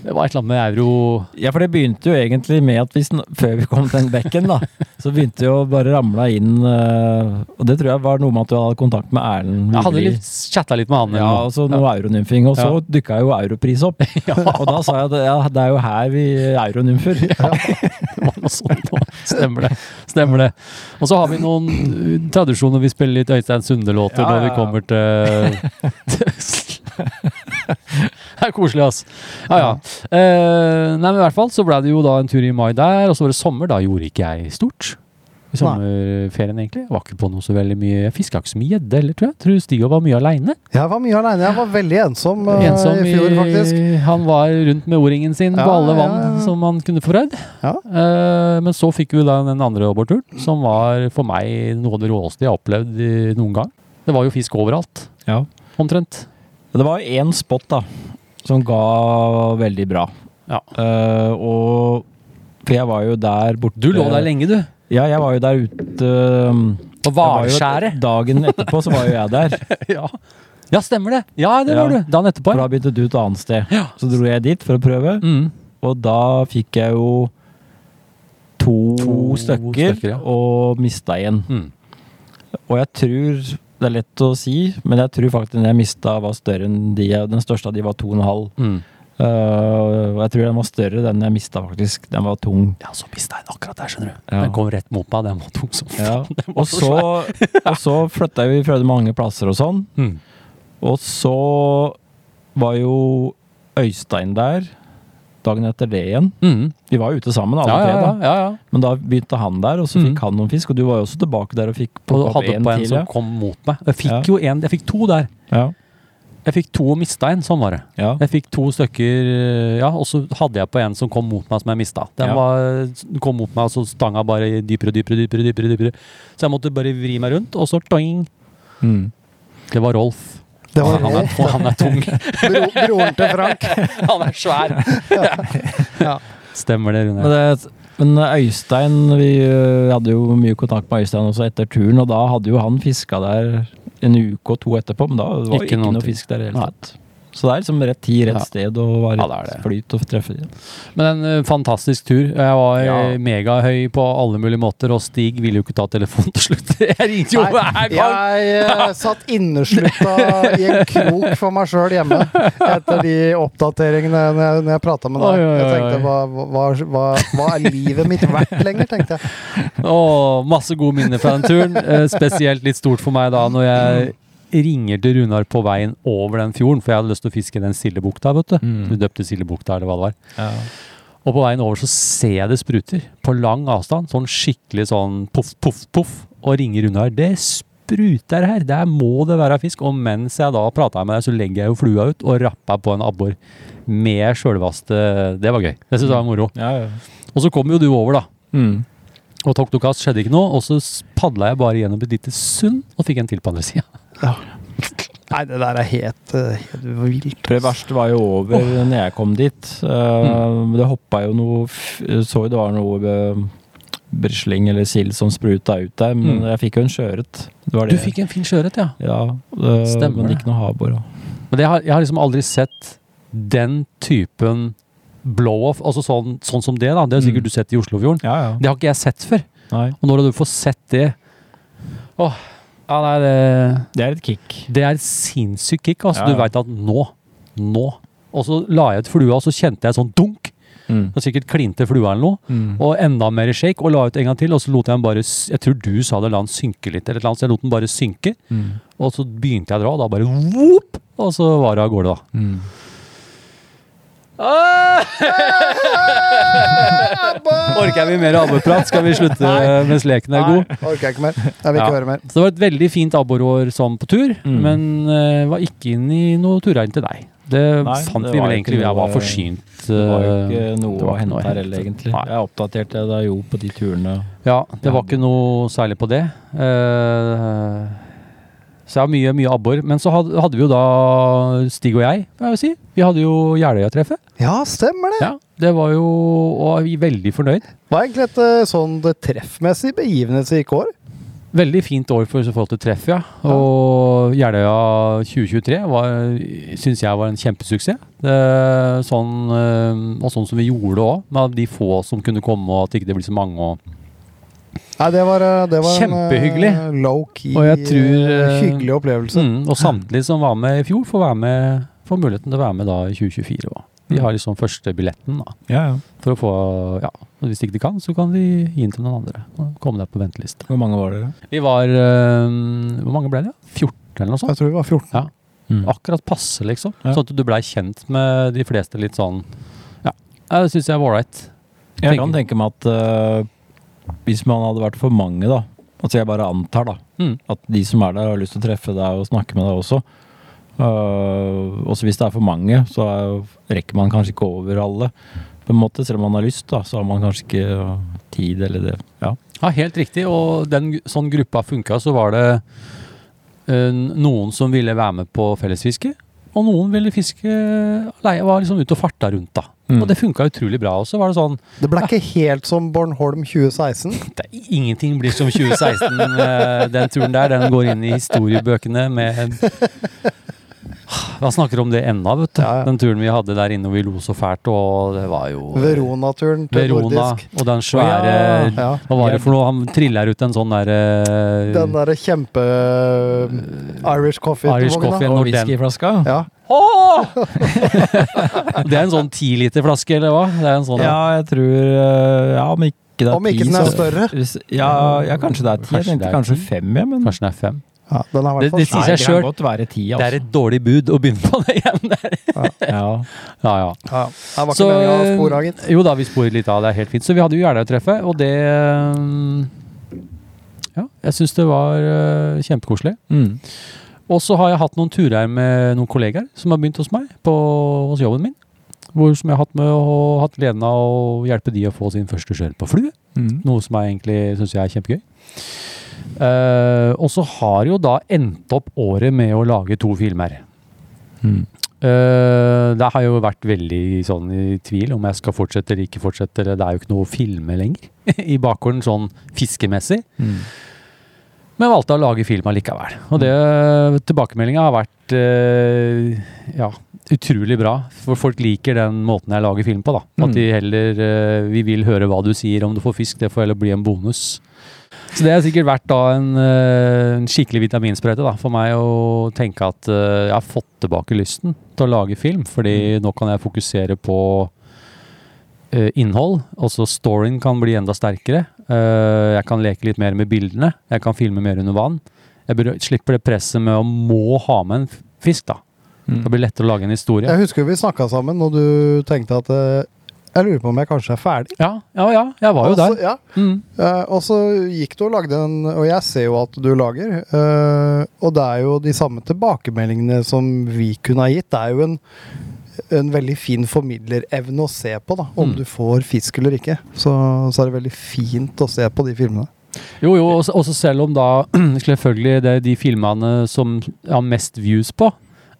Speaker 1: Det var et eller annet med euro
Speaker 5: Ja, for det begynte jo egentlig med at vi, sn- før vi kom til den bekken, da, så begynte jo bare ramla inn eh, Og det tror jeg var noe med at du hadde kontakt med Erlend.
Speaker 1: Jeg hadde
Speaker 5: Wigli.
Speaker 1: litt, chatta litt med han.
Speaker 5: Ja, og så noe euronymfing, og så
Speaker 1: Ja.
Speaker 5: dukka jo europris opp. Og da sa jeg at ja, det er jo her vi euronymfer.
Speaker 1: Det var noe sånt nå. sånn, Stemmer det. Stemmer det. Og så har vi noen uh, tradisjoner. Vi spiller litt Øystein Sunde-låter
Speaker 5: Ja,
Speaker 1: når vi
Speaker 5: ja, ja.
Speaker 1: kommer til, til Det er koselig, ass. Ja, ja. Eh, nei, men i hvert fall så ble det jo da en tur i mai der, og så var det sommer. Da gjorde ikke jeg stort. I sommerferien, egentlig. Jeg var ikke på noe så veldig mye. Jeg fiska ikke så mye gjedde heller, tror jeg. Tror Stig var mye aleine.
Speaker 4: Jeg var mye aleine. Jeg var veldig ensom, eh,
Speaker 1: Ensom
Speaker 4: i fjor, faktisk.
Speaker 1: i- Han var rundt med O-ringen sin på
Speaker 4: Ja,
Speaker 1: alle
Speaker 4: ja,
Speaker 1: vann
Speaker 4: ja.
Speaker 1: som han kunne få prøvd.
Speaker 4: Ja.
Speaker 1: Eh, men så fikk vi da den andre robberturen, som var for meg noe av det råeste jeg har opplevd i- noen gang. Det var jo fisk overalt,
Speaker 5: Ja.
Speaker 1: omtrent.
Speaker 5: Det var jo én spot da, som ga veldig bra.
Speaker 1: Ja.
Speaker 5: Eh, og For jeg var jo der borte
Speaker 1: Du lå der lenge, du.
Speaker 5: Ja, jeg var jo der ute eh,
Speaker 1: På
Speaker 5: jeg var jo-
Speaker 1: Hvalskjæret.
Speaker 5: Dagen etterpå så var jo jeg der.
Speaker 1: ja. ja, stemmer det. Ja, det
Speaker 5: Ja.
Speaker 1: var du. Dagen etterpå.
Speaker 5: For
Speaker 1: ja.
Speaker 5: da begynte du et annet sted. Så dro jeg dit for å prøve,
Speaker 1: Mm.
Speaker 5: og da fikk jeg jo to,
Speaker 1: To
Speaker 5: stykker,
Speaker 1: stykker, ja.
Speaker 5: og mista en.
Speaker 1: Mm.
Speaker 5: Og jeg tror Det er lett å si, men jeg tror faktisk den jeg mista, var større enn de jeg Den største av de var to og en halv.
Speaker 1: Mm.
Speaker 5: Eh, og jeg tror den var større, den jeg mista, faktisk. Den var tung.
Speaker 1: Ja, så mista jeg den akkurat der, skjønner du.
Speaker 5: Ja.
Speaker 1: Den kom rett mot meg. Den var tung som faen.
Speaker 5: Ja.
Speaker 1: Den var
Speaker 5: Og så, og så flytta vi fra mange plasser og sånn.
Speaker 1: Mm.
Speaker 5: Og så var jo Øystein der. Dagen etter det igjen.
Speaker 1: Mhm.
Speaker 5: Vi var jo ute sammen, alle
Speaker 1: Ja, ja,
Speaker 5: tre.
Speaker 1: ja,
Speaker 5: da.
Speaker 1: ja, ja.
Speaker 5: Men da begynte han der, og så fikk
Speaker 1: Mhm.
Speaker 5: han noen fisk. Og du var jo også tilbake der og fikk
Speaker 1: Og
Speaker 5: plukket opp
Speaker 1: hadde
Speaker 5: en
Speaker 1: på en sånn
Speaker 5: til.
Speaker 1: som
Speaker 5: Ja.
Speaker 1: kom mot meg. Jeg fikk
Speaker 5: Ja.
Speaker 1: jo en, jeg fikk to der.
Speaker 5: Ja.
Speaker 1: Jeg fikk to og mista en, sånn var det.
Speaker 5: Ja.
Speaker 1: Jeg fikk to stykker, eh, ja, og så hadde jeg på en som kom mot meg, som jeg mista. Den
Speaker 5: Ja.
Speaker 1: var, eh, kom mot meg, og så stanga bare dypere og dypere, dypere, dypere, dypere. Så jeg måtte bare vri meg rundt, og så toing! Mm.
Speaker 5: Mhm.
Speaker 1: Det var Rolf.
Speaker 4: Det var
Speaker 1: han, er, og han er tung.
Speaker 4: bro, broren til Frank.
Speaker 1: han er svær.
Speaker 4: Ja.
Speaker 1: Stemmer det, Rune.
Speaker 5: Men, det, men Øystein Vi ø, hadde jo mye kontakt med Øystein også etter turen, og da hadde jo han fiska der en uke og to etterpå, men da var det
Speaker 1: Ikke
Speaker 5: ikke
Speaker 1: noen
Speaker 5: noe
Speaker 1: ting.
Speaker 5: fisk der i det
Speaker 1: Nei.
Speaker 5: hele tatt. Så det er liksom rett tid, rett
Speaker 1: Ja.
Speaker 5: sted, og var
Speaker 1: Ja,
Speaker 5: rett
Speaker 1: det er det.
Speaker 5: flyt og treffe.
Speaker 1: Men en eh, fantastisk tur. Jeg var eh,
Speaker 5: Ja.
Speaker 1: megahøy på alle mulige måter, og Stig ville jo ikke ta telefonen til slutt. Jeg ringte jo
Speaker 4: Nei,
Speaker 1: hver gang!
Speaker 4: jeg eh, satt inneslutta i en krok for meg sjøl hjemme etter de oppdateringene når jeg, når jeg prata med deg.
Speaker 1: Oi, oi,
Speaker 4: Jeg
Speaker 1: oi.
Speaker 4: tenkte hva, hva, hva, hva er livet mitt verdt lenger, tenkte jeg.
Speaker 1: Åh, masse gode minner fra den turen. Eh, spesielt litt stort for meg da når jeg ringer til Runar på veien over den fjorden, for jeg hadde lyst til å fiske i den sildebukta. vet du.
Speaker 5: Mm.
Speaker 1: Du døpte sildebukta, eller hva det var.
Speaker 5: Ja.
Speaker 1: Og på veien over så ser jeg det spruter på lang avstand. Sånn skikkelig sånn poff, poff, poff. Og ringer Runar. Det spruter her! Der må det være fisk. Og mens jeg da prata med deg, så legger jeg jo flua ut og rapper på en abbor. Med sjølvaste Det var gøy. Det syns jeg var moro.
Speaker 5: Ja, ja.
Speaker 1: Og så kom jo du over, da.
Speaker 5: Mm.
Speaker 1: Og tok du kast, skjedde ikke noe. Og så padla jeg bare gjennom et lite sund og fikk en til på andre sida.
Speaker 4: Nei, det der er helt, eh, helt vilt.
Speaker 5: Det verste var jo over når jeg kom dit. Eh,
Speaker 1: Mm.
Speaker 5: Det hoppa jo noe f- Så jo det var noe eh, brisling eller sild som spruta ut der, men
Speaker 1: Mm.
Speaker 5: jeg fikk jo en sjøørret. Det var
Speaker 1: Du
Speaker 5: det.
Speaker 1: fikk en fin sjøørret, ja.
Speaker 5: Ja, eh,
Speaker 1: Stemmer
Speaker 5: men
Speaker 1: det.
Speaker 5: ikke noe havbor. da.
Speaker 1: Men jeg har, jeg har liksom aldri sett den typen blow-off, altså sånn, sånn som det, da. Det har
Speaker 5: Mm.
Speaker 1: sikkert du sett i Oslofjorden.
Speaker 5: Ja, ja.
Speaker 1: Det har ikke jeg sett før.
Speaker 5: Nei.
Speaker 1: Og når du får sett det Åh, ja, nei, det,
Speaker 5: Det er et kick.
Speaker 1: det er et sinnssykt kick. Altså,
Speaker 5: Ja, ja.
Speaker 1: Du veit at nå, nå Og så la jeg ut flua, og så kjente jeg sånn dunk.
Speaker 5: Mm.
Speaker 1: Og sikkert klinte flua eller noe. Og enda mer shake, og la ut en gang til. Og så lot jeg den bare s- Jeg tror du sa det, la den synke litt, eller et eller annet. Så jeg lot den bare synke.
Speaker 5: Mm.
Speaker 1: Og så begynte jeg å dra, og da bare whoop, Og så var det av gårde, da.
Speaker 5: Mm.
Speaker 1: Orker vi mer abborprat? Skal vi slutte eh, mens leken er god?
Speaker 4: Orker jeg ikke mer. Jeg vil ikke
Speaker 1: Ja.
Speaker 4: høre mer.
Speaker 1: Så det var et veldig fint abborår sånn på tur,
Speaker 5: Mm.
Speaker 1: men eh, var ikke inn i noe turregn til deg. Det
Speaker 5: Nei,
Speaker 1: fant
Speaker 5: det
Speaker 1: vi
Speaker 5: var
Speaker 1: vel
Speaker 5: jo ikke
Speaker 1: egentlig. Jeg
Speaker 5: noe-
Speaker 1: var forsynt.
Speaker 5: Det var jo
Speaker 1: eh,
Speaker 5: ikke
Speaker 1: det
Speaker 5: noe
Speaker 1: var
Speaker 5: å
Speaker 1: ikke noe å
Speaker 5: hente her
Speaker 1: hente.
Speaker 5: heller, egentlig.
Speaker 1: Nei.
Speaker 5: Jeg oppdaterte deg jo på de turene.
Speaker 1: Ja, det var
Speaker 5: Ja.
Speaker 1: ikke noe særlig på det. Eh, så jeg har mye, mye abbor. Men så hadde, hadde vi jo da Stig og jeg, må jeg jo si. Vi hadde jo Jeløya-treffet.
Speaker 4: Ja, stemmer det.
Speaker 1: Ja. Det var jo Og vi er veldig fornøyd.
Speaker 4: Var egentlig et eh, sånn det treffmessig begivenhet som gikk år.
Speaker 1: Veldig fint år for i så forhold til treff, ja. Og Jeløya 2023 var- syns jeg var en kjempesuksess. Det, sånn, eh, og sånn som vi gjorde det òg, med de få som kunne komme, og at det ikke blir så mange. Og
Speaker 4: Nei, det var, eh, det var
Speaker 1: Kjempehyggelig.
Speaker 4: en eh, low-key,
Speaker 1: Og jeg tror,
Speaker 4: eh,
Speaker 1: eh,
Speaker 4: hyggelig opplevelse.
Speaker 1: Mm, og samtlige som var med i fjor, får, være med, får muligheten til å være med da i 2024 også. De har liksom første billetten da,
Speaker 5: Ja, ja.
Speaker 1: for å få Ja, og hvis de ikke kan, så kan de gi den til noen andre. og Komme deg på venteliste.
Speaker 5: Hvor mange var dere?
Speaker 1: Vi var øhm, Hvor mange ble det? 14 eller noe sånt?
Speaker 4: Jeg tror vi var 14.
Speaker 1: Akkurat passe, liksom.
Speaker 5: Ja.
Speaker 1: Sånn at du blei kjent med de fleste litt sånn Ja, ja, det syns jeg var ålreit.
Speaker 5: Jeg
Speaker 1: Tenker-
Speaker 5: kan tenke meg at eh, hvis man hadde vært for mange, da Altså jeg bare antar, da.
Speaker 1: Mm.
Speaker 5: At de som er der, har lyst til å treffe deg og snakke med deg også. Eh, også hvis det er for mange, så er, rekker man kanskje ikke over alle. På en måte, Selv om man har lyst, da, så har man kanskje ikke eh, tid eller det. Ja.
Speaker 1: Ja, helt riktig. Og den gru- sånn gruppa funka, så var det eh, noen som ville være med på fellesfiske, og noen ville fiske leie, var liksom ute og farta rundt, da.
Speaker 5: Mm.
Speaker 1: Og det funka utrolig bra. Og så var det sånn
Speaker 4: Det ble ikke helt som Bornholm 2016.
Speaker 1: det, er- Ingenting blir som 2016. eh, den turen der, den går inn i historiebøkene med Man snakker om det ennå, vet du.
Speaker 4: Ja, ja.
Speaker 1: Den turen vi hadde der inne, og vi lo så fælt, og det var jo
Speaker 4: Verona-turen til
Speaker 1: Verona
Speaker 4: nordisk.
Speaker 1: og den svære
Speaker 4: Ja.
Speaker 1: Hva var det for noe? Han triller ut en sånn derre
Speaker 4: Den derre kjempe eh, Irish coffee.
Speaker 1: Irish
Speaker 4: vogna.
Speaker 1: coffee.
Speaker 5: Og
Speaker 1: når den-
Speaker 5: whiskyflaska.
Speaker 4: Ja.
Speaker 1: Det er en sånn 10 liter flaske, eller hva? Det er en sånn,
Speaker 5: Ja, jeg tror eh, Ja, om ikke det er
Speaker 4: Om ikke
Speaker 5: ti,
Speaker 4: den er
Speaker 5: så-
Speaker 4: større.
Speaker 5: Hvis, ja, ja, kanskje det er ti. Jeg
Speaker 1: Kanskje det
Speaker 5: tenkte
Speaker 1: er
Speaker 5: kanskje
Speaker 1: ti.
Speaker 5: fem, ja, men
Speaker 1: Kanskje den er 5?
Speaker 4: Ja, den har i
Speaker 1: Det-
Speaker 4: hvert fall
Speaker 1: det- sier seg
Speaker 5: Det
Speaker 1: selv.
Speaker 5: kan godt være ti,
Speaker 1: Det er
Speaker 5: altså.
Speaker 1: et dårlig bud å begynne på det igjen.
Speaker 5: Ja.
Speaker 1: Ja, ja.
Speaker 4: ja, Det var ikke
Speaker 1: eh,
Speaker 4: meningen å spore av, gitt.
Speaker 1: Jo da, vi sporer litt av. Det er helt fint. Så vi hadde jo Jeløya treffet, og det eh, Ja, jeg syns det var eh, kjempekoselig.
Speaker 5: Mm.
Speaker 1: Og så har jeg hatt noen turer med noen kollegaer som har begynt hos meg, på, hos jobben min. Hvor som jeg har hatt, med, og hatt gleden av å hjelpe de å få sin første skjørt på flue.
Speaker 5: Mm.
Speaker 1: Noe som jeg egentlig syns er kjempegøy. Eh, og så har jo da endt opp året med å lage to filmer.
Speaker 5: Mm.
Speaker 1: Eh, det har jeg jo vært veldig sånn i tvil om jeg skal fortsette eller ikke fortsette. eller Det er jo ikke noe å filme lenger i bakgården, sånn fiskemessig.
Speaker 5: Mm.
Speaker 1: Men valgte å lage film allikevel. Og det tilbakemeldinga har vært eh, ja, utrolig bra. For folk liker den måten jeg lager film på, da. At de heller eh, Vi vil høre hva du sier om du får fisk, det får heller bli en bonus. Så det har sikkert vært da en, eh, en skikkelig vitaminsprøyte da, for meg å tenke at eh, jeg har fått tilbake lysten til å lage film, fordi nå kan jeg fokusere på eh, innhold, og så storyen kan bli enda sterkere. Eh, jeg kan leke litt mer med bildene, jeg kan filme mer under vann. Jeg bør, slipper det presset med å må ha med en f- fisk da.
Speaker 5: Mm.
Speaker 1: Det blir lettere å lage en historie.
Speaker 4: Jeg husker vi snakka sammen, og du tenkte at eh, Jeg lurer på om jeg kanskje er ferdig.
Speaker 1: Ja, ja, ja, jeg var jo
Speaker 4: Og så-
Speaker 1: der.
Speaker 4: Ja,
Speaker 1: Mm.
Speaker 4: Eh, og så gikk du og lagde en, og jeg ser jo at du lager. eh, og det er jo de samme tilbakemeldingene som vi kunne ha gitt. Det er jo en, en veldig fin formidlerevne å se på, da. Om
Speaker 1: Mm.
Speaker 4: du får fisk eller ikke. Så, så er det veldig fint å se på de filmene.
Speaker 1: Jo, jo, også, også selv om da selvfølgelig det er de filmene som har mest views på,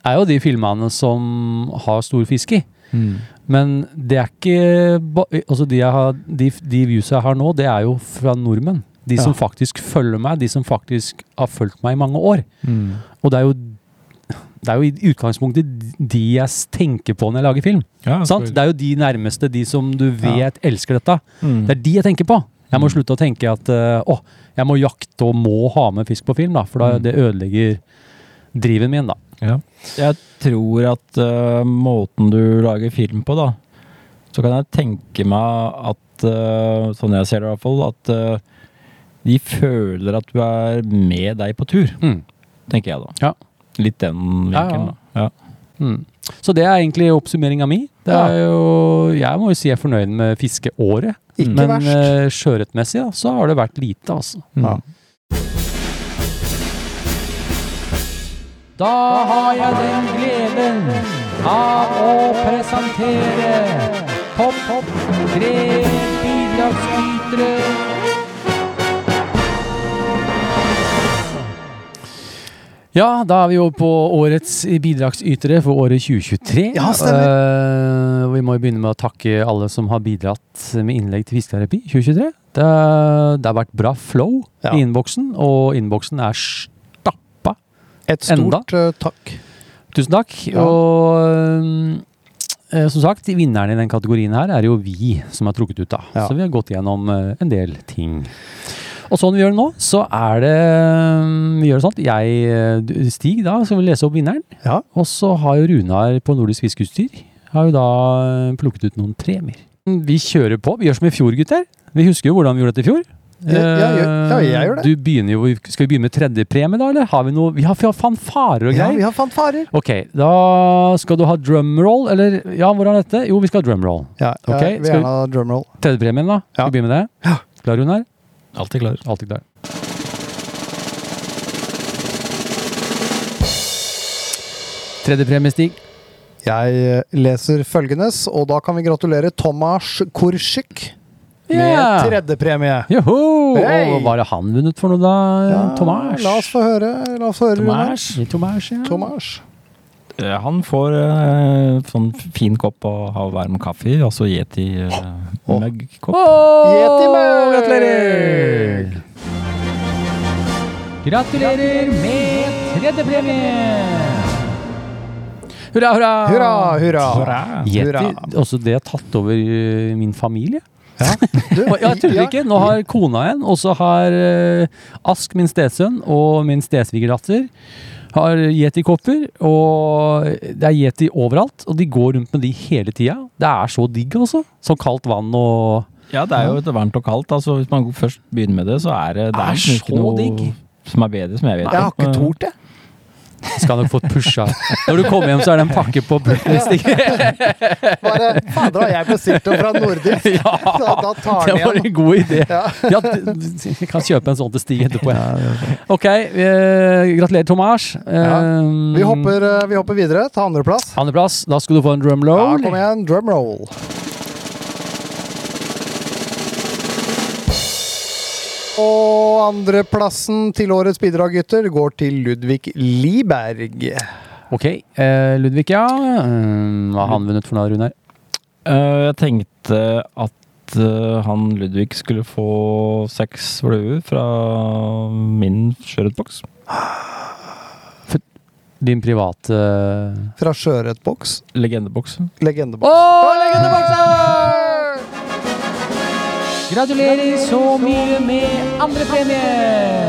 Speaker 1: er jo de filmene som har stor fiske i.
Speaker 5: Mm.
Speaker 1: Men det er ikke ba- Altså, de, jeg har, de, de viewsa jeg har nå, det er jo fra nordmenn. De som faktisk følger meg, de som faktisk har fulgt meg i mange år.
Speaker 5: Mm.
Speaker 1: Og det er jo det er jo i utgangspunktet de jeg s- tenker på når jeg lager film.
Speaker 5: Ja,
Speaker 1: Sant? Det er jo de nærmeste, de som du vet elsker dette.
Speaker 5: Mm.
Speaker 1: Det er de jeg tenker på. Jeg må slutte å tenke at eh, å, jeg må jakte og må ha med fisk på film, da, for da,
Speaker 5: Mm.
Speaker 1: det ødelegger driven min. da.
Speaker 5: Ja. Jeg tror at eh, måten du lager film på, da, så kan jeg tenke meg at eh, Sånn jeg ser det i hvert fall, at eh, de føler at du er med deg på tur,
Speaker 1: Mm.
Speaker 5: tenker jeg da.
Speaker 1: Ja.
Speaker 5: Litt den
Speaker 1: Ja, ja.
Speaker 5: vinkelen, da. Ja.
Speaker 1: Mm. Så det er egentlig oppsummeringa mi. Det er jo, jeg må jo si jeg er fornøyd med fiskeåret.
Speaker 4: Ikke
Speaker 1: Men
Speaker 4: verst.
Speaker 1: eh, sjøørretmessig da, så har det vært lite, altså.
Speaker 5: Ja.
Speaker 1: Da har jeg den gleden av å presentere topp, topp tre bidragsytere. Ja, da er vi over på årets bidragsytere for året 2023.
Speaker 4: Ja, stemmer.
Speaker 1: Eh, vi må jo begynne med å takke alle som har bidratt med innlegg til Fisketerapi 2023. Det, det har vært bra flow
Speaker 4: Ja.
Speaker 1: i innboksen, og innboksen er stappa
Speaker 4: Et
Speaker 1: Enda.
Speaker 4: stort eh, takk.
Speaker 1: Tusen takk.
Speaker 4: Ja.
Speaker 1: Og øhm, eh, som sagt, vinneren i den kategorien her er jo vi som er trukket ut, da.
Speaker 4: Ja.
Speaker 1: Så vi har gått gjennom eh, en del ting. Og sånn vi gjør det nå, så er det øhm, Vi gjør det sånn at jeg eh, du- Stig, da, skal vi lese opp vinneren.
Speaker 4: Ja.
Speaker 1: Og så har jo Runar på Nordisk Fiskeutstyr har jo da eh, plukket ut noen premier. Vi kjører på. Vi gjør som i fjor, gutter. Vi husker jo hvordan vi gjorde dette i fjor.
Speaker 4: Ja, ja, ja, ja, jeg gjør
Speaker 1: Eh,
Speaker 4: det.
Speaker 1: Du begynner jo, Skal vi begynne med tredjepremie, da? eller? Har vi noe Vi har, vi har fanfarer og
Speaker 4: Ja,
Speaker 1: greier.
Speaker 4: vi har fanfarer.
Speaker 1: Ok, da skal du ha drumroll, eller ja, hvordan er dette? Jo, vi skal ha drumroll.
Speaker 4: Ja,
Speaker 1: Ok,
Speaker 4: jeg vil
Speaker 1: skal vi-
Speaker 4: gjerne ha drumroll.
Speaker 1: Tredjepremien, da.
Speaker 4: Ja.
Speaker 1: Skal vi begynne med det?
Speaker 4: Ja.
Speaker 1: Klar, Runar?
Speaker 5: Alltid klar.
Speaker 1: Alltid klar. Tredjepremie, Stig.
Speaker 4: Jeg eh, leser følgendes, og da kan vi gratulere Tomas Korsyk
Speaker 1: Ja.
Speaker 4: med tredjepremie.
Speaker 1: Joho!
Speaker 4: Hei!
Speaker 1: Og hva har han vunnet for noe, da?
Speaker 4: Ja,
Speaker 1: Tomas?
Speaker 4: Eh, La oss få høre, la oss få høre Runar.
Speaker 5: Tomas,
Speaker 1: Tomas, ja.
Speaker 4: Tomas.
Speaker 5: eh, han får eh, sånn fin kopp og ha varm kaffe, i, altså Yeti eh, mugg-kopp.
Speaker 1: Åh,
Speaker 4: Gjetimøl!
Speaker 1: Gratulerer! Gratulerer med tredjepremie! Hurra, hurra!
Speaker 4: Hurra, hurra.
Speaker 5: Hurra.
Speaker 1: Yeti,
Speaker 4: Hurra.
Speaker 1: også det har tatt over eh, min familie.
Speaker 4: Du,
Speaker 1: Og Jeg tuller
Speaker 4: ja,
Speaker 1: ikke. Nå har kona en, og så har eh, Ask, min stesønn, og min stesvigerdatter har Yeti-kopper. Og det er Yeti overalt, og de går rundt med de hele tida. Det er så digg, altså. Så kaldt vann og
Speaker 5: Ja, det er jo et varmt og kaldt. Altså, hvis man først begynner med det, så er det, det
Speaker 1: Er
Speaker 5: liksom
Speaker 1: så digg.
Speaker 5: som er bedre, som jeg vet.
Speaker 4: Jeg har
Speaker 5: om.
Speaker 4: ikke tort, jeg.
Speaker 1: Skal nok fått pusha. Når du kommer hjem, så er det en pakke på Britney-stikker.
Speaker 4: Bare, fader, har jeg bestilt det fra Nordic?
Speaker 1: Ja,
Speaker 4: Da, da tar
Speaker 1: det
Speaker 4: den
Speaker 1: var
Speaker 4: igjen.
Speaker 1: en god idé.
Speaker 4: Ja.
Speaker 1: Ja, d- d- jeg kan kjøpe en sånn til Stig etterpå. Ok, eh, gratulerer, Tomas.
Speaker 4: Ja.
Speaker 1: Eh,
Speaker 4: Vi hopper, eh, vi hopper videre til andreplass.
Speaker 1: Andreplass. Da skal du få en drum
Speaker 4: Ja,
Speaker 1: roll.
Speaker 4: kom igjen, drum roll. Og andreplassen til årets bidrag, gutter, går til Ludvig Liberg.
Speaker 1: ok, eh, Ludvig, ja. Eh, hva har han vunnet for noe, Runar?
Speaker 5: Eh, jeg tenkte at eh, han Ludvig skulle få seks fluer fra min sjørøverboks.
Speaker 1: Din private eh,
Speaker 4: Fra Sjøørretboks.
Speaker 5: Legendeboks.
Speaker 4: Legendeboks.
Speaker 1: Gratulerer så mye med andrepremie!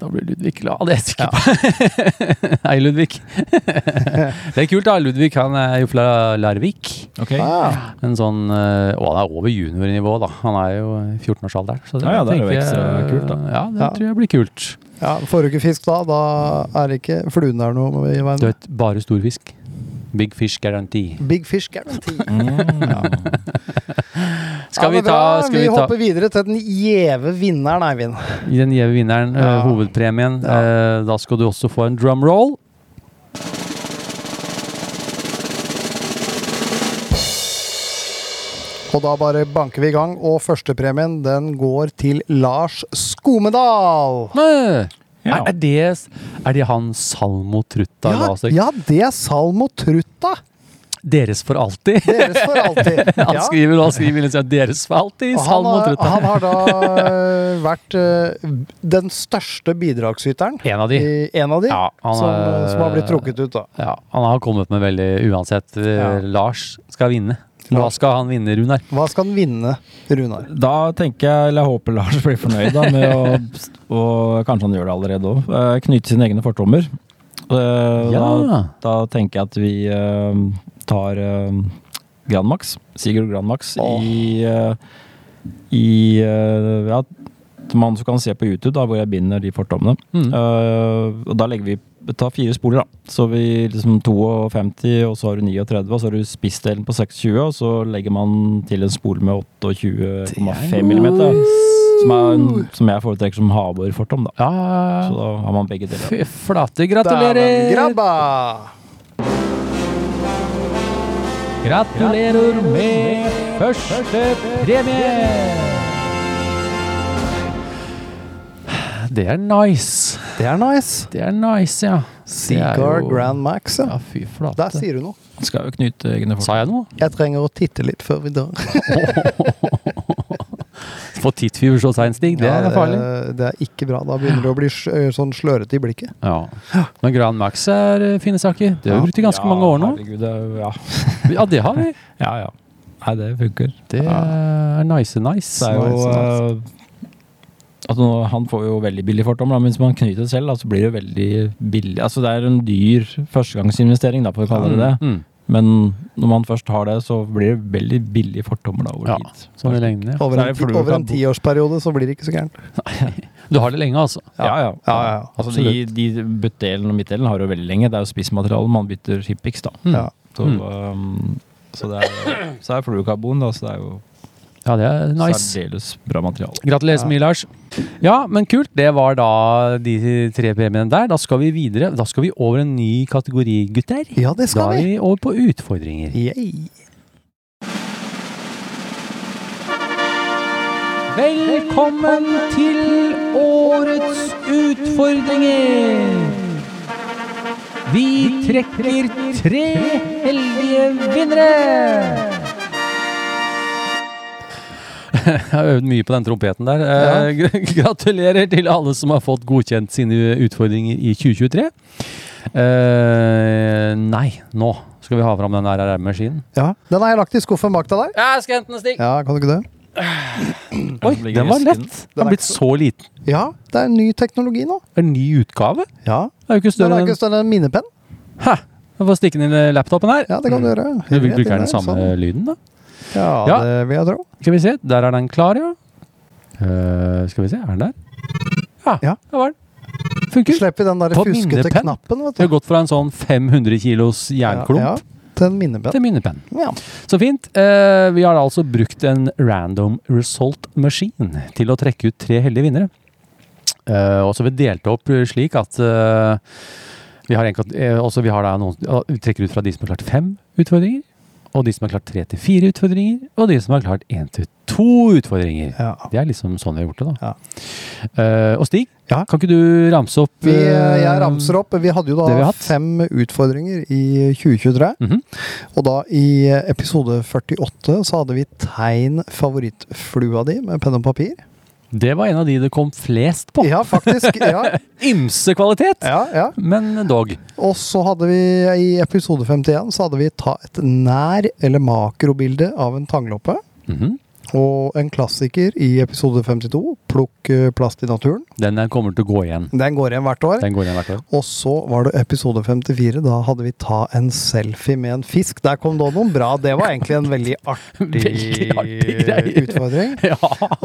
Speaker 1: Da blir Ludvig glad, Ah, det er jeg sikker på. Hei, Ludvig. det er kult, da. Ludvig han er jo fra Larvik.
Speaker 5: Ok. Ja,
Speaker 4: Ah,
Speaker 1: En sånn, eh, og han er over juniornivå, da. Han er jo i 14-årsalderen. Så
Speaker 5: Ja, ja, det er jo
Speaker 1: tenker jeg-
Speaker 5: ekstra kult, da.
Speaker 1: Ja, det
Speaker 4: Ja.
Speaker 1: tror jeg blir kult.
Speaker 4: ja, Får du ikke fisk da, da er det ikke fluene er noe i
Speaker 1: Du
Speaker 4: veien.
Speaker 1: vet, bare storfisk. Big fish guarantee.
Speaker 4: Big fish guarantee.
Speaker 1: Mm. Skal
Speaker 4: Ja,
Speaker 1: vi
Speaker 4: men bra.
Speaker 1: ta, skal vi ta
Speaker 4: hopper videre til den gjeve vinneren, Eivind.
Speaker 1: i den gjeve vinneren, eh,
Speaker 4: Ja.
Speaker 1: hovedpremien? eh, da skal du også få en drum roll.
Speaker 4: Og da bare banker vi i gang, og førstepremien den går til Lars Skomedal.
Speaker 1: Mø!
Speaker 5: Ja.
Speaker 1: Er, er, det, er det han Salmo Trutta
Speaker 4: Ja,
Speaker 1: ga oss?
Speaker 4: ja, det er Salmo Trutta!
Speaker 1: Deres for alltid?
Speaker 4: Deres for alltid.
Speaker 1: Han
Speaker 4: Ja.
Speaker 1: skriver og han skriver liksom 'Deres for alltid',
Speaker 4: Og Han
Speaker 1: Salmo
Speaker 4: har,
Speaker 1: Trutta.
Speaker 4: han har da eh, vært eh, den største bidragsyteren.
Speaker 1: En av de.
Speaker 4: I en av de
Speaker 1: Ja, han
Speaker 4: som, eh,
Speaker 1: er-
Speaker 4: som har blitt trukket ut, da.
Speaker 1: Ja, han har kommet med veldig Uansett, eh,
Speaker 4: Ja.
Speaker 1: Lars skal vinne. Hva
Speaker 4: Lars.
Speaker 1: skal han vinne, Runar?
Speaker 4: Hva skal han vinne, Runar?
Speaker 5: Da tenker jeg, eller jeg håper Lars blir fornøyd da, med å, og kanskje han gjør det allerede òg, knyte sine egne fortommer. Eh, da,
Speaker 1: Ja.
Speaker 5: da tenker jeg at vi eh, tar eh, Granmax, Sigurd Granmax,
Speaker 4: Åh.
Speaker 5: i, eh, i eh, ja, man som kan se på YouTube, da, hvor jeg binder de fortommene.
Speaker 1: Mm.
Speaker 5: Eh, og da legger vi vi tar fire spoler, da. Så vi liksom 52, og så har du 39, og så har du spissdelen på 26, og så legger man til en spole med 28,5 millimeter. Som, er en, som jeg foretrekker som havbordfortom, da.
Speaker 1: Ja,
Speaker 5: Så da har man begge deler.
Speaker 1: Fy flate,
Speaker 4: Dæven
Speaker 1: gratulerer!
Speaker 4: grabba!
Speaker 1: Gratulerer med første premie! Det er nice.
Speaker 4: Det er nice.
Speaker 1: Det er nice, ja. Det er
Speaker 4: Seagar
Speaker 1: jo-
Speaker 4: Grand Max, ja.
Speaker 1: Ja, fy
Speaker 4: Der
Speaker 1: flate.
Speaker 4: sier du noe.
Speaker 5: Skal jo knyte egne
Speaker 1: Sa
Speaker 5: fortom.
Speaker 1: jeg noe?
Speaker 4: Jeg trenger å titte litt før vi drar.
Speaker 1: Få tittfever så seint, Stig. Det
Speaker 4: Ja,
Speaker 1: er farlig.
Speaker 4: Det, eh, det er ikke bra. Da begynner du å bli sj- sånn slørete i blikket.
Speaker 1: Ja. Men Grand Max er eh, fine saker. Det har vi brukt i ganske
Speaker 5: Ja,
Speaker 1: mange år nå.
Speaker 5: Herregud, det er, jo- ja.
Speaker 1: Ja, det har vi.
Speaker 5: ja, ja. Nei, det funker.
Speaker 1: Det er nice,
Speaker 5: Det
Speaker 1: nice.
Speaker 5: er jo
Speaker 4: Nice,
Speaker 5: eh, altså, nå- Han får jo veldig billig fortom, da, men hvis man knyter det selv, da, så blir det jo veldig billig. Altså, det er en dyr førstegangsinvestering, da, for å kalle det det.
Speaker 1: Mm.
Speaker 5: Men når man først har det, så blir det veldig billig fortommer da, over
Speaker 1: Ja,
Speaker 5: tid.
Speaker 1: Sånn i lengden, ja.
Speaker 4: Over
Speaker 5: Så er
Speaker 4: en,
Speaker 5: det
Speaker 4: ti-
Speaker 5: fordi du
Speaker 4: over
Speaker 5: kan
Speaker 4: en
Speaker 5: bo-
Speaker 4: tiårsperiode så blir det ikke så gærent.
Speaker 1: Du har det lenge, altså.
Speaker 5: Ja, ja.
Speaker 4: Ja, ja, ja.
Speaker 5: Altså, de, de buttdelen og midtdelen har jo veldig lenge. Det er jo spissmateriale. Man bytter hippics, da.
Speaker 1: Mm.
Speaker 4: Ja.
Speaker 5: Så,
Speaker 1: Mm.
Speaker 5: um, så det er, så er fluorkarbon, da, så det er jo
Speaker 1: Ja, det er nice.
Speaker 5: særdeles bra materiale.
Speaker 1: Gratulerer så mye, Lars. Ja, men kult. Det var da de tre premiene der. Da skal vi videre. Da skal vi over en ny kategori, gutter.
Speaker 4: Ja, det
Speaker 1: Da
Speaker 4: skal
Speaker 1: er
Speaker 4: vi.
Speaker 1: vi over på utfordringer.
Speaker 4: Yay.
Speaker 1: Velkommen til årets utfordringer! Vi trekker tre heldige vinnere! Jeg har øvd mye på den trompeten der. Eh, gr- Gratulerer til alle som har fått godkjent sine utfordringer i 2023. Eh, nei, nå skal vi ha fram den RRM-maskinen.
Speaker 4: Ja. Den har jeg lagt i skuffen bak deg der.
Speaker 1: Jeg skal hente en stikk!
Speaker 4: Ja, Kan du ikke det?
Speaker 1: Oi,
Speaker 5: Den ligger
Speaker 1: den
Speaker 5: i
Speaker 1: var
Speaker 5: esken.
Speaker 1: lett! Den
Speaker 4: er
Speaker 1: har blitt
Speaker 4: ikke
Speaker 1: så liten.
Speaker 4: Ja, det er ny teknologi nå.
Speaker 1: En ny utgave?
Speaker 4: Ja.
Speaker 1: Det er jo ikke
Speaker 4: Den
Speaker 1: større
Speaker 4: er
Speaker 1: enn
Speaker 4: ikke større enn minnepenn.
Speaker 1: Hæ! Jeg får stikke den inn i laptopen her.
Speaker 4: Ja, det kan du gjøre.
Speaker 1: Du vil
Speaker 4: Rett
Speaker 1: bruke
Speaker 4: inn
Speaker 1: den
Speaker 4: der,
Speaker 1: samme
Speaker 4: sånn.
Speaker 1: lyden, da?
Speaker 4: Ja,
Speaker 1: Ja.
Speaker 4: det vil jeg tro.
Speaker 1: Skal vi se, der er den klar, ja. Eh, skal vi se, er den der? Ja,
Speaker 4: Ja.
Speaker 1: der var den. Funker.
Speaker 4: Slipper den der
Speaker 1: Ta
Speaker 4: fuskete
Speaker 1: minnepenn.
Speaker 4: knappen, vet
Speaker 1: Vi har
Speaker 4: du.
Speaker 1: gått fra en sånn 500 kilos jernklump
Speaker 4: Ja, ja. Til en minnepenn.
Speaker 1: til minnepenn.
Speaker 4: Ja.
Speaker 1: Så fint. Eh, vi har da altså brukt en random result machine til å trekke ut tre heldige vinnere. Eh, og så har vi delt opp eh, slik at eh, vi har, en, kat- eh, også vi har da noen, eh, vi trekker ut fra de som har klart fem utfordringer, og de som har klart tre til fire utfordringer, og de som har klart én til to utfordringer.
Speaker 4: Ja.
Speaker 1: Det er liksom sånn vi har gjort det, da. Eh, og Stig,
Speaker 4: Ja.
Speaker 1: kan ikke du ramse opp eh,
Speaker 4: Vi, eh, jeg ramser opp. Vi hadde jo
Speaker 1: det vi
Speaker 4: da
Speaker 1: har hatt.
Speaker 4: fem utfordringer i 2023.
Speaker 1: Mhm.
Speaker 4: Og da i eh, episode 48 så hadde vi tegn favorittflua di med penn og papir.
Speaker 1: Det var en av de det kom flest på.
Speaker 4: Ja, faktisk. Ja,
Speaker 1: Ymse kvalitet,
Speaker 4: ja, ja.
Speaker 1: men dog.
Speaker 4: Og så hadde vi i episode 51 så hadde vi ta et nær- eller makrobilde av en tangloppe.
Speaker 1: Mhm.
Speaker 4: Og en klassiker i episode 52, plukk eh, plast i naturen.
Speaker 1: Den der kommer til å gå igjen.
Speaker 4: Den går igjen hvert år.
Speaker 1: Den går igjen hvert år.
Speaker 4: Og så var det episode 54. Da hadde vi ta en selfie med en fisk. Der kom det noen bra. Det var egentlig en veldig artig,
Speaker 1: Veldig artig greie.
Speaker 4: utfordring.
Speaker 1: Ja,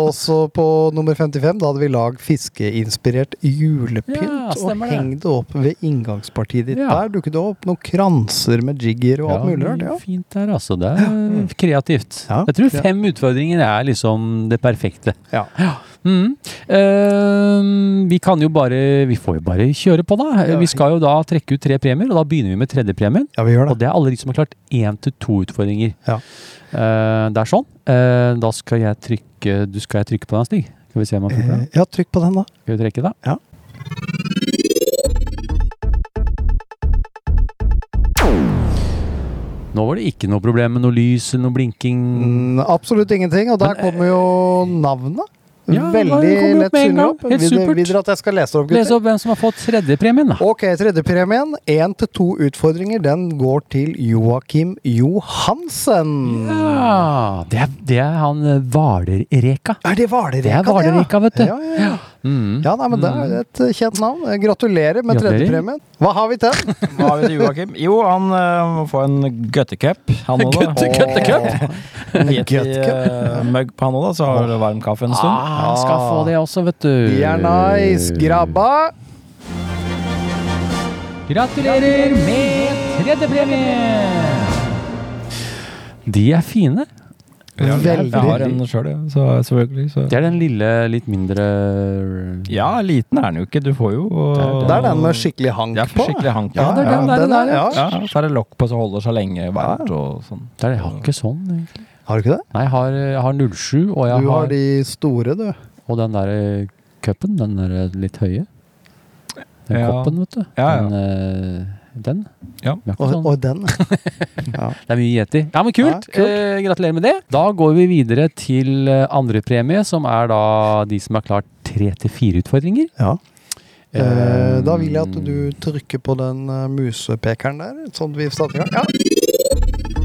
Speaker 4: Og så på nummer 55, da hadde vi lag fiskeinspirert
Speaker 1: Ja,
Speaker 4: julepynt. og
Speaker 1: stemmer det.
Speaker 4: heng det opp ved inngangspartiet ditt.
Speaker 1: Ja.
Speaker 4: Der dukket det opp noen kranser med jigger og alt mulig rart. Ja. Mm.
Speaker 1: Fint der, altså. Det er eh, kreativt.
Speaker 4: Ja.
Speaker 1: Jeg tror
Speaker 4: Ja.
Speaker 1: fem utfordringer er liksom det perfekte.
Speaker 4: Ja.
Speaker 1: Mhm. Eh, vi kan jo bare Vi får jo bare kjøre på, da. Eh,
Speaker 4: Ja.
Speaker 1: Vi skal jo da trekke ut tre premier, og da begynner vi med tredjepremien.
Speaker 4: ja, vi gjør
Speaker 1: Og
Speaker 4: det.
Speaker 1: det er alle de som har klart én til to utfordringer.
Speaker 4: Ja.
Speaker 1: Eh, det er sånn. Eh, da skal jeg trykke Du skal jeg trykke på den, Stig? Skal vi se om han funker?
Speaker 4: Eh, Ja, trykk på den, da.
Speaker 1: Skal vi trekke, da?
Speaker 4: Ja.
Speaker 1: Nå var det ikke noe problem med noe lys eller noe blinking.
Speaker 4: Mm, absolutt ingenting. Og der kommer jo navnet.
Speaker 1: eh, Ja, det
Speaker 4: Veldig
Speaker 1: kommer jo
Speaker 4: lett
Speaker 1: med en
Speaker 4: synlig
Speaker 1: gang.
Speaker 4: opp.
Speaker 1: Helt
Speaker 4: Vil dere-
Speaker 1: supert.
Speaker 4: vil dere at jeg skal lese det opp, gutter?
Speaker 1: Les opp hvem som har fått tredjepremien, da.
Speaker 4: Ok, tredjepremien. Én til to utfordringer. Den går til Joakim Johansen.
Speaker 1: Ja, det, er, det er han eh, Hvaler-Reka.
Speaker 4: Er det
Speaker 1: Det
Speaker 4: Hvalereka,
Speaker 1: er Hvaler-Reka, vet du.
Speaker 4: Ja, ja, ja.
Speaker 1: Mm.
Speaker 4: ja nei, men det er et eh, kjent navn. Eh, Gratulerer med
Speaker 1: Gratulerer.
Speaker 4: tredjepremien. Hva har vi til?
Speaker 5: Hva har vi til Joakim? Jo, han eh, må få en guttecup. Han òg, da.
Speaker 1: Gutte- Guttecup.
Speaker 5: Gitt i eh, mugg på han òg, da, så har det varm kaffe en stund.
Speaker 1: Ah, han skal få det også, vet du.
Speaker 4: Vi er nice, grabba.
Speaker 1: Gratulerer med tredjepremien! De er fine.
Speaker 5: Ja, jeg- Jeg har
Speaker 4: Veldig.
Speaker 5: en sjøl, så selvfølgelig. Så.
Speaker 1: Det er den lille, litt mindre
Speaker 5: Ja, liten er den jo ikke. Du får jo
Speaker 4: Det er den med skikkelig hank
Speaker 5: Ja,
Speaker 4: på.
Speaker 5: skikkelig hank.
Speaker 1: Ja, det er den der, den der,
Speaker 4: ja.
Speaker 5: Ja, så er det lokk på som holder seg lenge varmt og sånn.
Speaker 1: Det er det, jeg har ikke sånn, egentlig.
Speaker 4: Har du ikke det?
Speaker 1: Nei, jeg har, jeg har 07, og, jeg
Speaker 4: Du
Speaker 1: har,
Speaker 4: har de store, du.
Speaker 1: og den der eh, cupen, den der eh, litt høye. Den
Speaker 5: Ja.
Speaker 1: koppen, vet du.
Speaker 5: Ja, ja.
Speaker 1: Den, eh, den.
Speaker 5: Ja.
Speaker 1: Vi har ikke
Speaker 4: Og,
Speaker 1: sånn.
Speaker 4: og den. Ja.
Speaker 1: Det er mye yeti. Ja, men
Speaker 4: Ja,
Speaker 1: kult!
Speaker 4: kult.
Speaker 1: Eh, gratulerer med det. Da går vi videre til eh, andre premie, som er da de som har klart tre til fire utfordringer.
Speaker 4: Ja. Eh,
Speaker 1: Eh,
Speaker 4: Da vil jeg at du trykker på den eh, musepekeren der, sånn at vi starter i gang. Ja.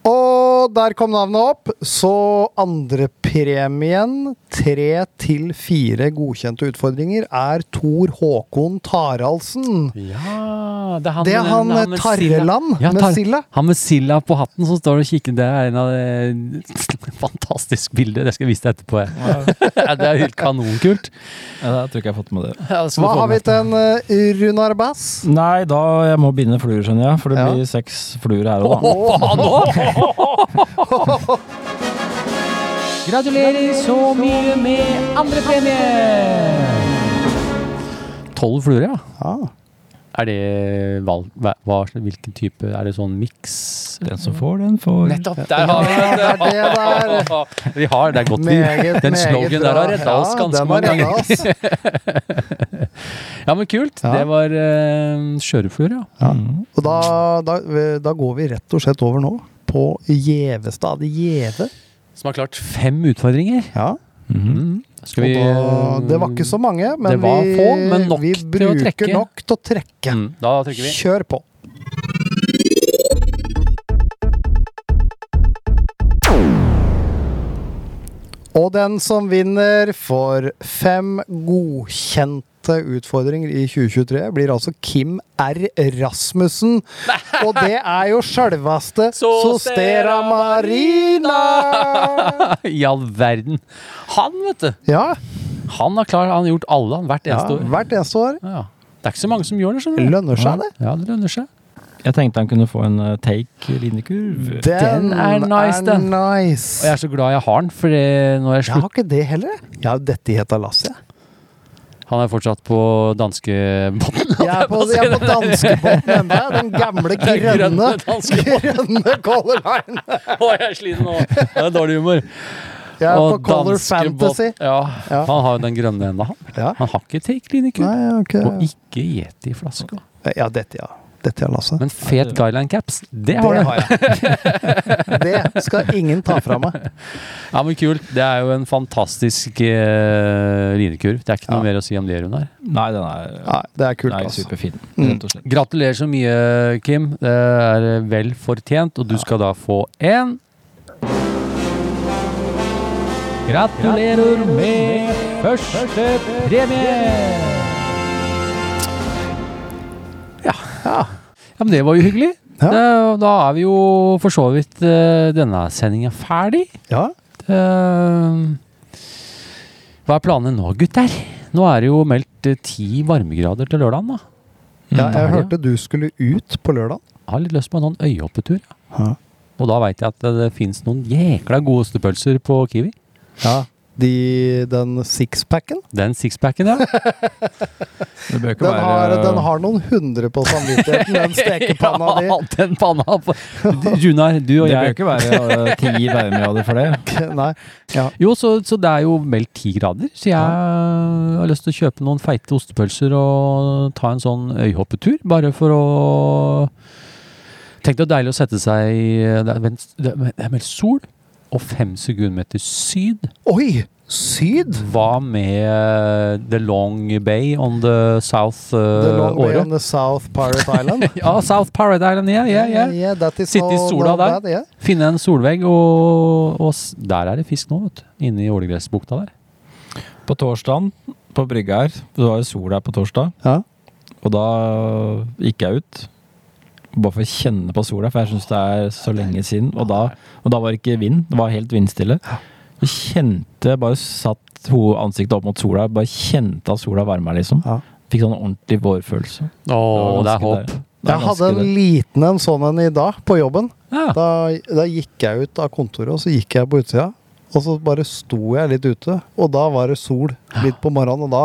Speaker 4: Og der kom navnet opp. Så andrepremien, tre til fire godkjente utfordringer, er Tor Håkon Taraldsen.
Speaker 1: Ja, det er han,
Speaker 4: Det er
Speaker 1: med-
Speaker 4: han eh,
Speaker 1: med Silla.
Speaker 4: Tarreland
Speaker 1: Ja,
Speaker 4: med
Speaker 1: Tar-
Speaker 4: Silla.
Speaker 1: Han med Silla på hatten som står og kikker. Det er en av de Fantastisk bilde. Det skal jeg vise deg etterpå. jeg. Ja, det er helt kanonkult.
Speaker 5: Ja, det tror jeg ikke jeg har fått med det.
Speaker 4: Hva har vi til en eh, Runar Bass?
Speaker 5: Nei, da jeg må binde fluer, skjønner jeg. For det
Speaker 4: Ja.
Speaker 5: blir seks fluer her òg, da.
Speaker 1: Gratulerer så mye med andre premie! Tolv fluer, ja.
Speaker 4: Ja.
Speaker 1: Er det valg... Hva, hva- hvilken type? Er det sånn miks?
Speaker 5: Den som får, den får.
Speaker 1: Nettopp! Der har vi
Speaker 4: Det er det der.
Speaker 1: det! Vi har, det er godt vi
Speaker 4: Meget,
Speaker 1: Den
Speaker 4: meget
Speaker 1: slogan der
Speaker 4: bra.
Speaker 1: har redda oss ganske
Speaker 4: den har
Speaker 1: mange
Speaker 4: redda
Speaker 1: ganger.
Speaker 4: oss.
Speaker 1: Ja, men kult.
Speaker 4: Ja.
Speaker 1: Det var uh, sjørøverfluer, ja.
Speaker 4: Og da, da, da går vi rett og slett over nå på Gjevestad. Gjeve.
Speaker 1: Som har klart fem utfordringer.
Speaker 4: Ja.
Speaker 1: Mhm. Skal
Speaker 4: Og
Speaker 1: vi
Speaker 4: da, det var ikke så mange, men,
Speaker 1: Det var
Speaker 4: vi,
Speaker 1: få, men nok
Speaker 4: vi
Speaker 1: til å
Speaker 4: bruker
Speaker 1: trekke.
Speaker 4: nok til å trekke.
Speaker 1: Mm, Da trykker vi.
Speaker 4: Kjør på. Og den som vinner, får fem godkjente gjentatte utfordringer i 2023 blir altså Kim R. Rasmussen. Og det er jo sjølveste
Speaker 1: Sostera
Speaker 4: Sostera Marina!
Speaker 1: I all verden. Han, vet du.
Speaker 4: Ja,
Speaker 1: Han har klar, han har gjort alle, han, hvert
Speaker 4: ja
Speaker 1: eneste år.
Speaker 4: hvert eneste år.
Speaker 1: Ja. Det er ikke så mange som gjør det. skjønner du.
Speaker 4: Lønner seg, det.
Speaker 1: Ja, det lønner seg.
Speaker 5: Jeg tenkte han kunne få en eh, take linekurv.
Speaker 1: Den er nice, den. Og jeg
Speaker 4: nice.
Speaker 1: er så glad jeg har den, for det- når jeg
Speaker 4: Jeg har
Speaker 1: slutter
Speaker 4: ikke det heller. jeg. Jeg har jo dette i Hetalasset, jeg.
Speaker 1: Han er fortsatt på danskebåten.
Speaker 4: Jeg er på, jeg er på danskebåten ennå. jeg. Den gamle,
Speaker 1: Den grønne
Speaker 4: grønne,
Speaker 1: danskebåten.
Speaker 4: grønne Color Line.
Speaker 1: Å, jeg er sliten nå! Det er dårlig humor.
Speaker 4: Jeg er på
Speaker 1: Og
Speaker 4: Color
Speaker 1: danskebåt-
Speaker 4: Fantasy.
Speaker 1: Ja.
Speaker 4: Ja.
Speaker 1: Han har jo den grønne enda, han.
Speaker 4: Ja.
Speaker 1: Han har ikke Take Clinic.
Speaker 4: Nei, jeg har
Speaker 1: Og
Speaker 4: ikke
Speaker 1: ikke Yeti-flaska.
Speaker 4: Ja, dette, ja. Dette, ja, Lasse.
Speaker 1: Men fet Guyline Caps, det
Speaker 4: Det
Speaker 1: har du.
Speaker 4: har jeg. Det skal ingen ta fra meg.
Speaker 1: Ja, men kult. Det er jo en fantastisk eh, linekurv. Det er ikke noe
Speaker 4: Ja.
Speaker 1: mer å si om det, Runar.
Speaker 5: Nei, den er,
Speaker 4: Nei, det er
Speaker 5: den
Speaker 4: kult,
Speaker 5: er
Speaker 4: altså.
Speaker 5: superfin,
Speaker 4: Mm.
Speaker 5: rett og slett.
Speaker 1: Gratulerer så mye, Kim. Det er vel fortjent, og du skal da få en Gratulerer med første premie!
Speaker 4: Ja.
Speaker 1: Ja, men det var jo hyggelig.
Speaker 4: Ja.
Speaker 1: Det- Da er vi jo for så vidt eh, denne sendinga ferdig.
Speaker 4: ja.
Speaker 1: Eh, Hva er planene nå, gutter? Nå er det jo meldt eh, ti varmegrader til lørdagen, da.
Speaker 4: ja jeg
Speaker 1: ja.
Speaker 4: hørte du skulle ut på lørdag.
Speaker 1: Jeg har litt lyst på en sånn øyehoppetur. Ja.
Speaker 4: Ja.
Speaker 1: Og da veit jeg at det, det fins noen jækla gode ostepølser på Kiwi.
Speaker 4: De, den sixpacken,
Speaker 1: Den sixpacken, ja.
Speaker 5: Det bør ikke
Speaker 4: den, har-
Speaker 5: være
Speaker 4: den har noen hundre på samvittigheten, den stekepanna di.
Speaker 1: Ja, den panna på Runar, du og
Speaker 5: Det bør
Speaker 1: jeg
Speaker 5: ikke være eh, ti varmegrader for det.
Speaker 4: Nei. Ja.
Speaker 1: Jo, så, så det er jo meldt ti grader, så jeg har lyst til å kjøpe noen feite ostepølser og ta en sånn øyhoppetur, bare for å Tenk deg deilig å sette seg i Det er, vent- det er det er meldt sol og fem sekundmeter syd.
Speaker 4: Oi! Syd!
Speaker 1: Hva med eh, The Long Bay on the South
Speaker 4: The
Speaker 1: uh,
Speaker 4: long way
Speaker 1: Åre?
Speaker 4: on the South Pirate Island.
Speaker 1: Ja, South Paradise Island, ja, ja, ja.
Speaker 4: Eh, that is
Speaker 1: Sitte i
Speaker 4: no-
Speaker 1: sola
Speaker 4: no
Speaker 1: der.
Speaker 4: bad, yeah.
Speaker 1: Finne en solvegg, og, og s- der er det fisk nå, vet du. Inne i Ålegressbukta der.
Speaker 5: På torsdagen, på brygga her, det var jo sol her på torsdag,
Speaker 4: Ja.
Speaker 5: og da gikk jeg ut. Bare for å kjenne på sola, for jeg syns det er så lenge siden. Og da, og da var det ikke vind, det var helt vindstille. Så kjente jeg bare satt ho- ansiktet opp mot sola, bare kjente at sola varma, liksom.
Speaker 4: Ja.
Speaker 5: Fikk sånn ordentlig vårfølelse.
Speaker 1: Å, det er
Speaker 5: ganske
Speaker 1: håp.
Speaker 5: deilig. Det er
Speaker 4: Jeg hadde
Speaker 5: ganske
Speaker 4: en
Speaker 5: deilig.
Speaker 4: liten en sånn en i dag, på jobben.
Speaker 1: Ja.
Speaker 4: Da, da gikk jeg ut av kontoret, og så gikk jeg på utsida. Og så bare sto jeg litt ute, og da var det sol litt på morgenen, og da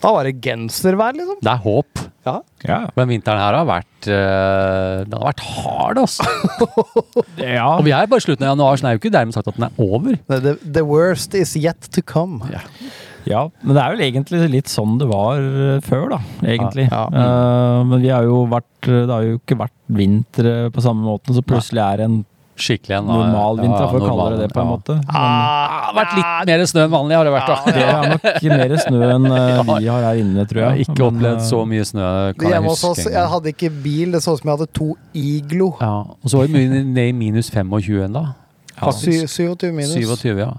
Speaker 4: Da var det genservær, liksom.
Speaker 1: Det er håp.
Speaker 4: Ja.
Speaker 5: Ja,
Speaker 1: Men vinteren her har vært eh, Den har vært hard, altså.
Speaker 5: ja.
Speaker 1: Og vi er bare i slutten av januar, så det er jo ikke dermed sagt at den er over.
Speaker 4: The, the- the worst is yet to come.
Speaker 1: Ja.
Speaker 5: Ja, men det er vel egentlig litt sånn det var eh, før, da. Egentlig.
Speaker 4: Ja,
Speaker 5: Eh, men vi har jo vært eh, Det har jo ikke vært vinter eh, på samme måten, så plutselig er det en
Speaker 1: Skikkelig en eh,
Speaker 5: normal
Speaker 1: ja,
Speaker 5: vinter, for å kalle
Speaker 1: normal,
Speaker 5: det det på
Speaker 1: ja.
Speaker 5: en måte.
Speaker 4: Ah.
Speaker 1: Det har vært litt mer snø enn vanlig, har det vært. da
Speaker 5: Det er nok mer snø enn eh, vi har her inne, tror
Speaker 1: Jeg har
Speaker 5: jeg.
Speaker 1: ikke
Speaker 5: Men, eh,
Speaker 1: opplevd så mye snø, kan jeg
Speaker 4: Hjemme hos oss,
Speaker 1: huske.
Speaker 4: jeg
Speaker 1: engang.
Speaker 4: hadde ikke bil, det så ut som jeg hadde to iglo.
Speaker 1: Ja, og så var det mye ned i minus 25 ennå.
Speaker 4: Sy- 27 minus.
Speaker 1: 27, ja.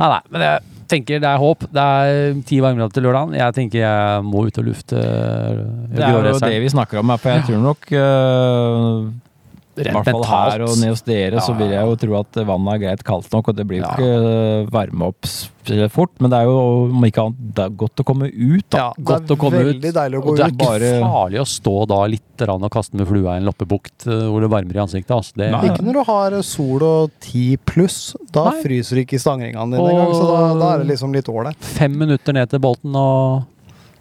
Speaker 1: Nei, nei, men jeg tenker det er håp. Det er ti varmegrader til lørdagen. Jeg tenker jeg må ut og lufte
Speaker 5: Det er jo det vi snakker om her, for jeg tror nok eh, I hvert fall her og nede hos dere, så
Speaker 1: Ja,
Speaker 5: vil jeg jo tro at vannet er greit kaldt nok, og det blir jo
Speaker 1: Ja.
Speaker 5: ikke eh, varme opp spesielt fort. Men det er jo om ikke annet det er godt å komme ut, da.
Speaker 4: Ja,
Speaker 1: Godt
Speaker 4: det er
Speaker 1: å komme ut.
Speaker 4: Veldig deilig å gå
Speaker 1: Og det er
Speaker 4: ut.
Speaker 1: ikke
Speaker 5: bare-
Speaker 1: farlig å stå da litt rann og kaste med flua i en loppebukt eh, hvor det varmer i ansiktet. Altså. Det,
Speaker 5: Nei.
Speaker 4: Ikke når du har sol og 10 pluss. Da
Speaker 1: Nei.
Speaker 4: fryser ikke stangringene dine
Speaker 1: Og-
Speaker 4: engang, så da, da er det liksom litt ålreit.
Speaker 1: Fem minutter ned til bolten og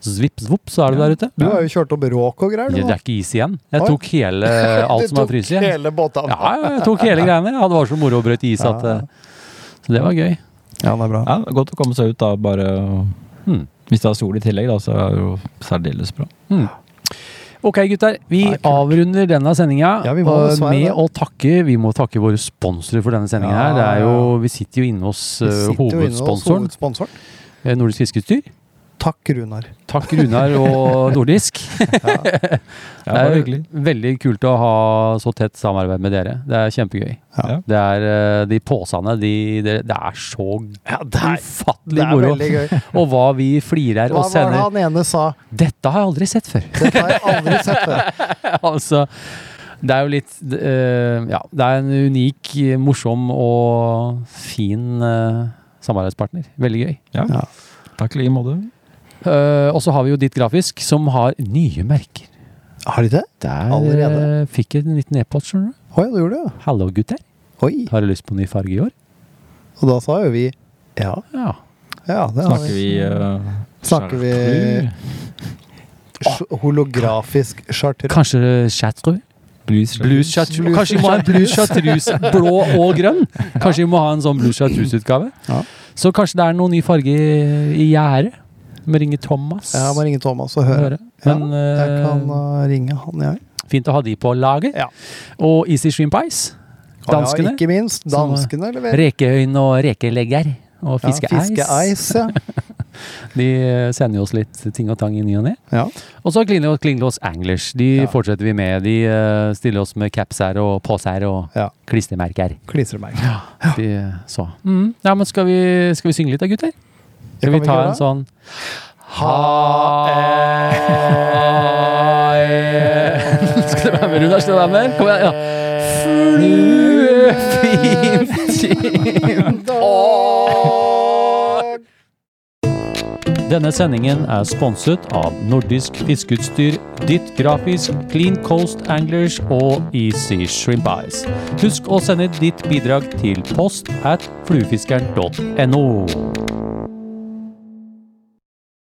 Speaker 1: zvipp, zvopp, så er du der ute.
Speaker 4: Du har jo kjørt opp råk og greier,
Speaker 1: Det
Speaker 4: du.
Speaker 1: er
Speaker 4: nå.
Speaker 1: ikke is igjen. Jeg
Speaker 4: Oi.
Speaker 1: tok hele alt
Speaker 4: Du
Speaker 1: som var
Speaker 4: tok
Speaker 1: fryst igjen.
Speaker 4: Hele båta.
Speaker 1: Ja, ja, jeg tok hele greiene. Ja, det var så moro å brøyte is
Speaker 4: Ja.
Speaker 1: at eh, Så det var gøy.
Speaker 4: Ja, det er bra.
Speaker 5: Ja, det er godt å komme seg ut da, bare
Speaker 1: Hmm.
Speaker 5: Hvis det er sol i tillegg, da, så er det jo særdeles bra.
Speaker 1: Mm. Ok, gutter. Vi
Speaker 4: Ja, kult.
Speaker 1: avrunder denne sendinga
Speaker 4: Ja, vi må dessverre
Speaker 1: med
Speaker 4: det.
Speaker 1: å takke Vi må takke våre sponsorer for denne sendinga
Speaker 4: Ja,
Speaker 1: her. Det er jo, vi sitter jo inne hos eh,
Speaker 4: Vi sitter jo inne hos
Speaker 1: hovedsponsoren,
Speaker 4: hovedsponsoren.
Speaker 1: eh, Nordisk Fiskeutstyr.
Speaker 4: Takk, Runar.
Speaker 1: Takk, Runar og Nordisk.
Speaker 5: Ja, det var
Speaker 1: jo
Speaker 5: hyggelig.
Speaker 1: veldig kult å ha så tett samarbeid med dere. Det er kjempegøy.
Speaker 5: Ja.
Speaker 1: Det er eh, de påsene de, det, det er så
Speaker 4: Det
Speaker 1: ufattelig
Speaker 4: er
Speaker 1: moro.
Speaker 4: veldig gøy.
Speaker 1: Og hva vi flirer
Speaker 4: Hva
Speaker 1: og
Speaker 4: var det
Speaker 1: sender.
Speaker 4: han ene sa?
Speaker 1: Dette har jeg aldri sett før.
Speaker 4: Dette har jeg aldri sett før.
Speaker 1: altså, det er jo litt eh, Ja, det er en unik, eh, morsom og fin eh, samarbeidspartner. Veldig gøy.
Speaker 5: Ja.
Speaker 4: Ja.
Speaker 5: Takk i like måte.
Speaker 1: Eh, og så har vi jo Ditt Grafisk, som har nye merker.
Speaker 4: Har de det?
Speaker 1: Der
Speaker 4: Allerede?
Speaker 1: eh, fikk jeg en liten e-post, skjønner du.
Speaker 4: Oi, du gjorde det, ja.
Speaker 1: Hallo, gutter.
Speaker 4: Oi.
Speaker 1: Har du lyst på ny farge i år?
Speaker 4: Og da sa jo vi ja.
Speaker 1: Ja.
Speaker 4: ja det har
Speaker 5: Snakker vi eh,
Speaker 4: Snakker vi-
Speaker 5: chartreux?
Speaker 4: Sj- Holografisk charter.
Speaker 1: Kanskje Chatrou?
Speaker 5: Blues,
Speaker 1: Blues Chatrou. Kanskje vi må ha en Blues Chatrous blå og grønn? Kanskje vi må ha en sånn Blues Chatrous-utgave?
Speaker 4: Ja.
Speaker 1: Så kanskje det er noen ny farge i- i gjerdet? Må ringe Thomas.
Speaker 4: Jeg må ringe Thomas og høre.
Speaker 1: Høre. Men
Speaker 4: Jeg kan
Speaker 1: eh,
Speaker 4: eh, ringe han, jeg.
Speaker 1: fint å ha de på laget.
Speaker 4: Ja.
Speaker 1: Og Easy Shrimp Ice.
Speaker 4: Og ja,
Speaker 1: Danskene.
Speaker 4: ikke minst.
Speaker 1: Som, eh,
Speaker 4: Danskene leverer.
Speaker 1: Rekeøyne og rekelegger. Og fiskeeis.
Speaker 4: Ja, fiskeeis, ja.
Speaker 1: De eh, sender jo oss litt ting og tang i ny og ne.
Speaker 4: ja.
Speaker 1: Og så Klinglås, Klinglås Anglers. De
Speaker 4: Ja.
Speaker 1: fortsetter vi med. De eh, stiller oss med capser og poser og
Speaker 4: Ja.
Speaker 1: klistremerker.
Speaker 4: Klistremerke.
Speaker 1: De, så. Mm. Ja, men skal vi, skal vi synge litt da, gutter? Skal vi ta en sånn Ha en Skal det være med, Runar? Skal det være med? Kom igjen. Ja. Fluefint år. Denne sendingen er sponset av Nordisk fiskeutstyr, Ditt Grafisk, Clean Coast Anglers og Easy Shrimp Eyes. Husk å sende ditt bidrag til post at fluefiskeren.no.